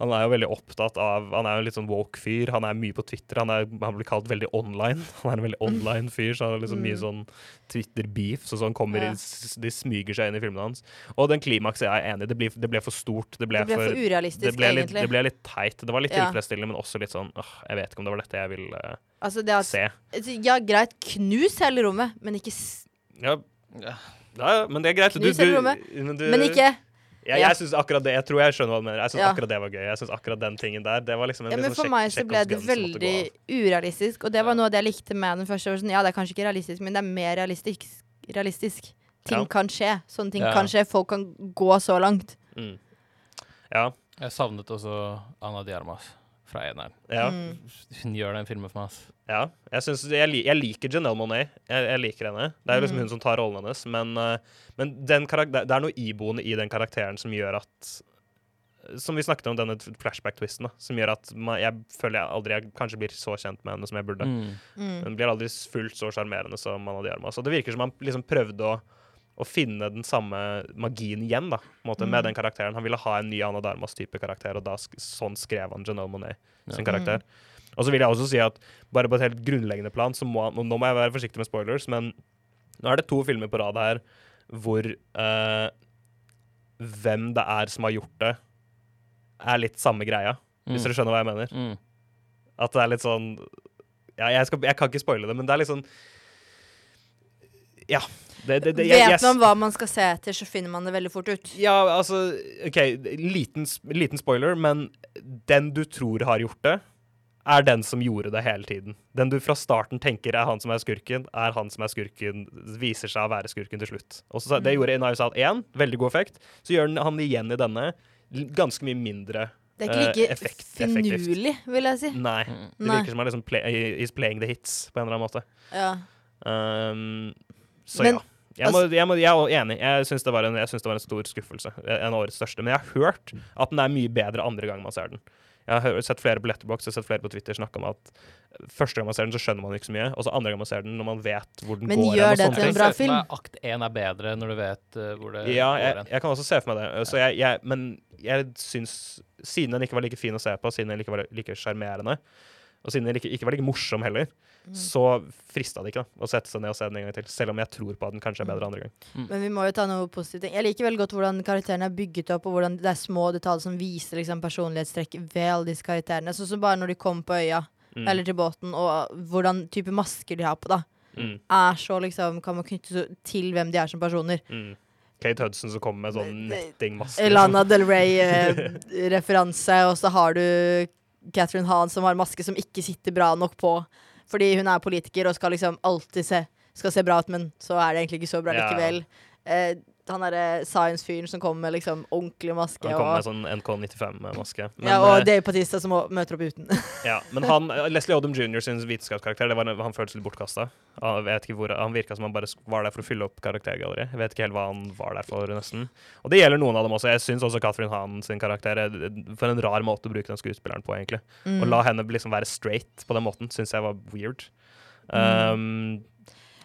Han er jo veldig opptatt av Han er jo en litt sånn woke-fyr. Han er mye på Twitter. Han, er, han blir kalt veldig online. Han er en
Mm.
veldig online fyr, så han har liksom mye sånn Twitter-beef. Så sånn kommer
Ja.
i, s- De smyger seg inn i filmene hans. Og den klimakset jeg er enig i. Det, blir- det ble for stort. Det ble,
Det ble for urealistisk,
det ble litt,
egentlig.
Det ble litt teit. Det var litt
Ja.
tilfredsstillende, men også litt sånn åh, Jeg vet ikke om det var dette jeg ville eh,
Altså det at
se.
altså, Ja, greit, knus hele rommet, men ikke s-
Ja, ja, ja, men det er greit. Du,
Knus hele
du-
rommet,
men du-
Men ikke
Jeg,
ja.
jeg synes akkurat det Jeg tror jeg skjønner hva du mener. Jeg synes
Ja.
akkurat det var gøy. Jeg synes akkurat den tingen der Det var liksom en
ja,
litt
men
sånn
For
sjekk-
meg så ble
Chekhovs
det
gun som måtte gå
veldig
av.
urealistisk, og det var noe av det jeg likte med den første. Sånn, ja, det er kanskje ikke realistisk, men det er mer realistisk. realistisk. Ting
Ja.
kan skje. Sånne ting
Ja.
kan skje. Folk kan gå så langt.
Mm. Ja.
jeg savnet også Ana Diarmas fra eneren.
Ja.
Mm.
Hun gjør den filmen for meg, ass.
ja. Jeg, synes, jeg, li- jeg liker Janelle Monet. Jeg, jeg liker henne. Det er
Mm.
jo liksom hun som tar rollen hennes. Men, eh, men den karakter, det er noe iboende i den karakteren som gjør at Som vi snakket om denne flashback-twisten, da, som gjør at man, jeg føler jeg aldri jeg kanskje blir så kjent med henne som jeg burde.
Mm.
Mm.
Hun blir aldri fullt så sjarmerende som Anna de Armas. Og det virker som han liksom prøvde å, å finne den samme magien igjen, da, på en måte, med den karakteren. Han ville ha en ny Anna de Armas-type karakter, og da sk sånn skrev han Janelle Monet sin karakter. Og så vil jeg også si at bare på et helt grunnleggende plan, så må han og Nå må jeg være forsiktig med spoilers, men nå er det to filmer på rad her hvor eh, hvem det er som har gjort det, er litt samme greia, hvis
Mm.
dere skjønner hva jeg mener.
Mm.
At det er litt sånn Ja, jeg, skal, jeg kan ikke spoile det, men det er litt sånn Ja. Det, det, det, jeg, jeg,
Vet man hva man skal se etter, så finner man det veldig fort ut.
ja, altså OK, liten, sp- liten spoiler, men den du tror har gjort det, er den som gjorde det hele tiden. Den du fra starten tenker er han som er skurken, er han som er skurken, viser seg å være skurken til slutt. Og så,
Mm.
Det gjorde Knives Out 1, veldig god effekt. Så gjør den han igjen i denne, l- ganske mye mindre
Det er ikke
eh,
like
effekt- effektivt.
finurlig, vil jeg si.
Nei. Det
Mm. Nei.
virker som han liksom play, he's playing the hits på en eller annen måte.
Ja.
Um, så
Men, altså
ja. Jeg, må, jeg, må, jeg er enig. Jeg syns det, var en- jeg syns det var en stor skuffelse. E, En av årets største. Men jeg har hørt at den er mye bedre andre gang man ser den. Jeg har hø- sett flere på Letterbox og sett flere på Twitter snakke om at første gang man ser den, så skjønner man ikke så mye. Og så andre gang man ser den, når man vet hvor den
Men
går.
gjør
hen og
det
sånne
til en
ting.
bra
Jeg ser for meg
film.
Akt én er bedre når du vet eh, hvor det
Ja,
går
jeg,
hen.
jeg kan også se for meg det. Så jeg, jeg, men jeg syns Siden den ikke var like fin å se på, siden den ikke var like sjarmerende, og siden den ikke, ikke var like morsom heller,
Mm.
så frista det ikke da, å sette seg ned og se den en gang til. Selv om jeg tror på at den
Mm.
kanskje er bedre andre gang.
Men vi må jo ta noe positivt. Jeg liker veldig godt hvordan karakterene er bygget opp, og hvordan det er små detaljer som viser liksom, personlighetstrekk ved alle disse karakterene. Sånn som bare når de kommer på øya, eller til båten, og hvordan type masker de har på, da.
Mm.
Er så liksom Kan man knytte så til hvem de er som personer.
Mm. Kate Hudson som kommer med sånn nettingmaske.
Lana Del Rey-referanse, og så har du Catherine Hahn som har maske som ikke sitter bra nok på. Fordi hun er politiker og skal liksom alltid se, skal se bra ut, men så er det egentlig ikke så bra
Ja.
likevel. Eh, han derre science-fyren som kommer med liksom ordentlig maske.
Han kommer
Og,
med sånn NK95-maske. Men,
ja, og
eh,
Dave Patista som må- møter opp uten.
ja, men han, eh, Leslie Odom Jr. sin vitenskapskarakter, det var, han føltes litt bortkasta. Han, vet ikke hvor- han virka som han bare sk- var der for å fylle opp karaktergalleriet. Jeg Vet ikke helt hva han var der for, nesten. Og det gjelder noen av dem også. Jeg syns også Catherine Hahn sin karakter er eh, For en rar måte å bruke den skuespilleren på, egentlig.
Mm.
Å la henne liksom være straight på den måten syns jeg var weird.
Mm.
Um,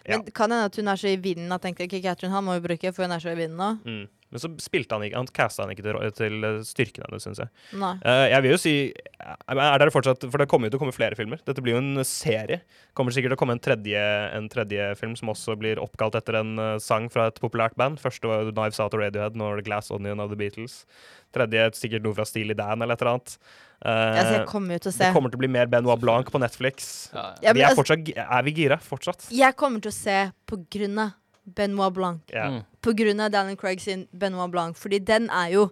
ja.
Men det kan hende at hun er så i vinden at tenkte, ikke Catherine Hahn må jo bruke, for hun er så i vinden nå.
mm. Men så spilte han ikke Han casta han ikke til, ro- til eh, styrken hennes, syns jeg.
Nei.
Eh, jeg vil jo si Er er dere fortsatt For det kommer jo til å komme flere filmer. Dette blir jo en serie. Kommer sikkert til å komme en tredje, en tredje film som også blir oppkalt etter en eh, sang fra et populært band. Første var jo Knives Out og Radiohead, nå er det Glass Onion av The Beatles. Tredje er sikkert noe fra Steely Dan eller et eller annet. Eh,
Altså, jeg kommer jo til å se.
det kommer til å bli mer Benoit Blanc på Netflix.
Ja, ja.
Ja,
vi
men
er,
altså-
fortsatt, gi- er vi gira fortsatt?
Jeg kommer til å se på grunn av Benoit Blanc.
Ja.
Mm.
på grunn av Daniel Craig sin Benoit Blanc, fordi den er jo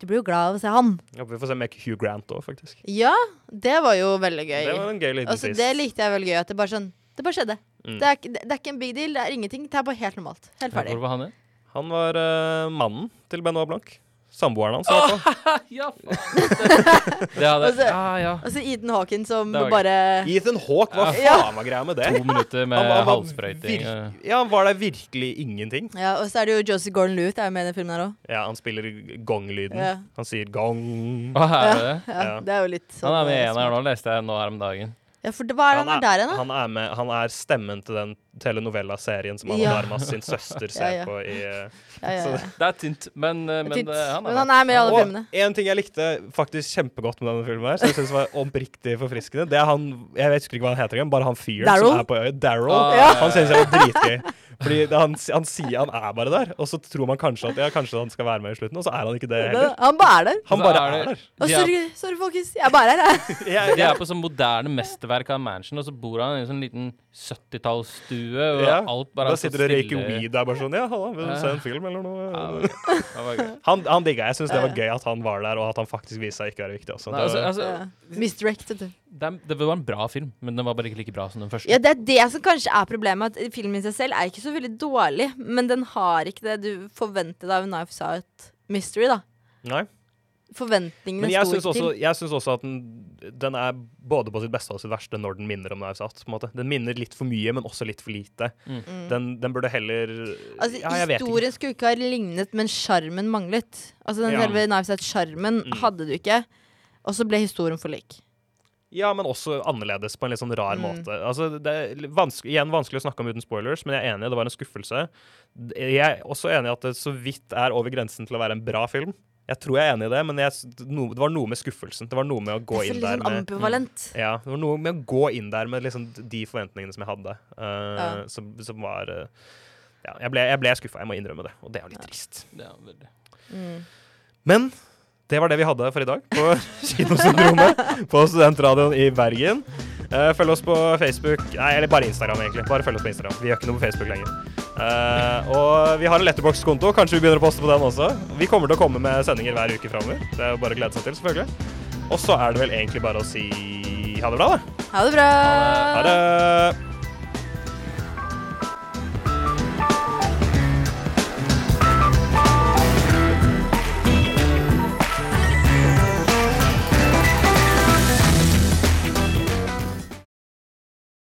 Du blir jo glad av å se han.
Ja, vi får se med Hugh Grant òg, faktisk.
Ja, det var jo veldig gøy.
Det var en gøy liten
altså,
twist.
det likte jeg veldig gøy. At det bare sånn Det bare skjedde.
Mm.
Det, er, ikke- det er ikke en big deal, det er ingenting. Det er bare helt normalt. Helt ferdig.
Hvor var han igjen?
Han var eh, mannen til Benoit Blanc. Samboeren hans, i hvert fall.
ja, faen. Det hadde
Og så-
ah, ja.
Og så Eden Hawken som
Det var gøy.
bare
Ethan Hawke, hva
Ja.
faen var greia med det?
To eh, minutter med
Han var- han var
halssprøyting.
vir-
og-
Ja, var det virkelig ingenting?
Ja, Og så er det jo Joseph Gordon Lewitt er jo med i den filmen her òg.
Ja, han spiller gong-lyden.
Ja.
Han sier gong.
Hva er det?
Ja,
Ja.
Det er jo litt sånn
Han er med i en her
smart.
nå, leste jeg nå her om dagen.
Ja, for det, hva er det han er der igjen, da?
han er, med, han er stemmen til den telenovella-serien som Anna
Ja.
Darmas sin søster ser
Ja, ja.
på i eh,
Ja, ja, ja.
Det er tynt, men, eh, men
Tynt.
eh, han er
Men
med.
han er med i alle
Og
filmene.
en ting jeg likte faktisk kjempegodt med denne filmen, her, som jeg synes var oppriktig forfriskende, det er han Jeg vet ikke hva han heter igjen, bare han fyren
Daryl?
som er på øya. Daryl.
Ah, ja.
Han synes jeg var dritgøy. Fordi det, han, han sier han er bare der, og så tror man kanskje at ja, kanskje han skal være med i slutten, og så er han ikke det heller.
Han bare er der.
Han
Så
bare
er
er
det-
der.
Å,
de er-
sorry, sorry, folkens. Jeg er bare her, jeg.
Jeg,
De er på sånn moderne mesterverk av mansion, og så bor han i en sånn liten 70-tallsstue, og
ja.
alt bare
Da
er så
sitter du og røyker
stille.
weed der bare sånn Ja, halla, vil du se en film eller
Ja, det
noe?
var gøy. Det var gøy.
Han, han digga. Jeg syns det var gøy at han var der, og at han faktisk viste seg ikke å være viktig også.
Nei,
Det-
altså, altså,
Ja. Misdirected.
det, er- det var en bra film, men den var bare ikke like bra som den første.
Ja, det er det som kanskje er problemet. At filmen i seg selv er ikke så veldig dårlig, men den har ikke det du forventet av en Knives Out Mystery, da.
Nei.
Forventningene
Men jeg
sto
syns
ikke
også,
til.
jeg synes også at den, den er både på sitt beste og sitt verste når den minner om Knives Out. på en måte. Den minner litt for mye, men også litt for lite. Den, den burde heller
Mm. Altså,
Ja, jeg vet ikke.
historien skulle ikke ha lignet, men sjarmen manglet. Altså den
Ja.
selve Knives Out-sjarmen
Mm.
hadde du ikke, og så ble historien for lik.
Ja, men også annerledes på en litt sånn rar
Mm.
måte. Altså, det er litt vanske, igjen vanskelig å snakke om uten spoilers, men jeg er enig, det var en skuffelse. Jeg er også enig i at det så vidt er over grensen til å være en bra film. Jeg tror jeg er enig i det, men jeg, s- no, det var noe med skuffelsen. Det var noe med å gå
Det er
inn
litt
der
sånn
med
ambivalent.
Ja, det var noe med å gå inn der med liksom de forventningene som jeg hadde, eh,
Ja.
som, som var eh, Ja, jeg ble, jeg ble skuffa, jeg må innrømme det, og det er jo litt trist.
Det er veldig-
Mm.
Men det var det vi hadde for i dag på Kinosyndromet på Studentradioen i Bergen. Eh, følg oss på Facebook Nei, eller bare Instagram, egentlig. Bare følg oss på Instagram. Vi gjør ikke noe på Facebook lenger. Eh, og vi har en letterbox-konto. Kanskje vi begynner å poste på den også. Vi kommer til å komme med sendinger hver uke framover. Det er jo bare å glede seg til, selvfølgelig. Mm. Og så er det vel egentlig bare å si ha det bra, da.
Ha det bra!
Ha det!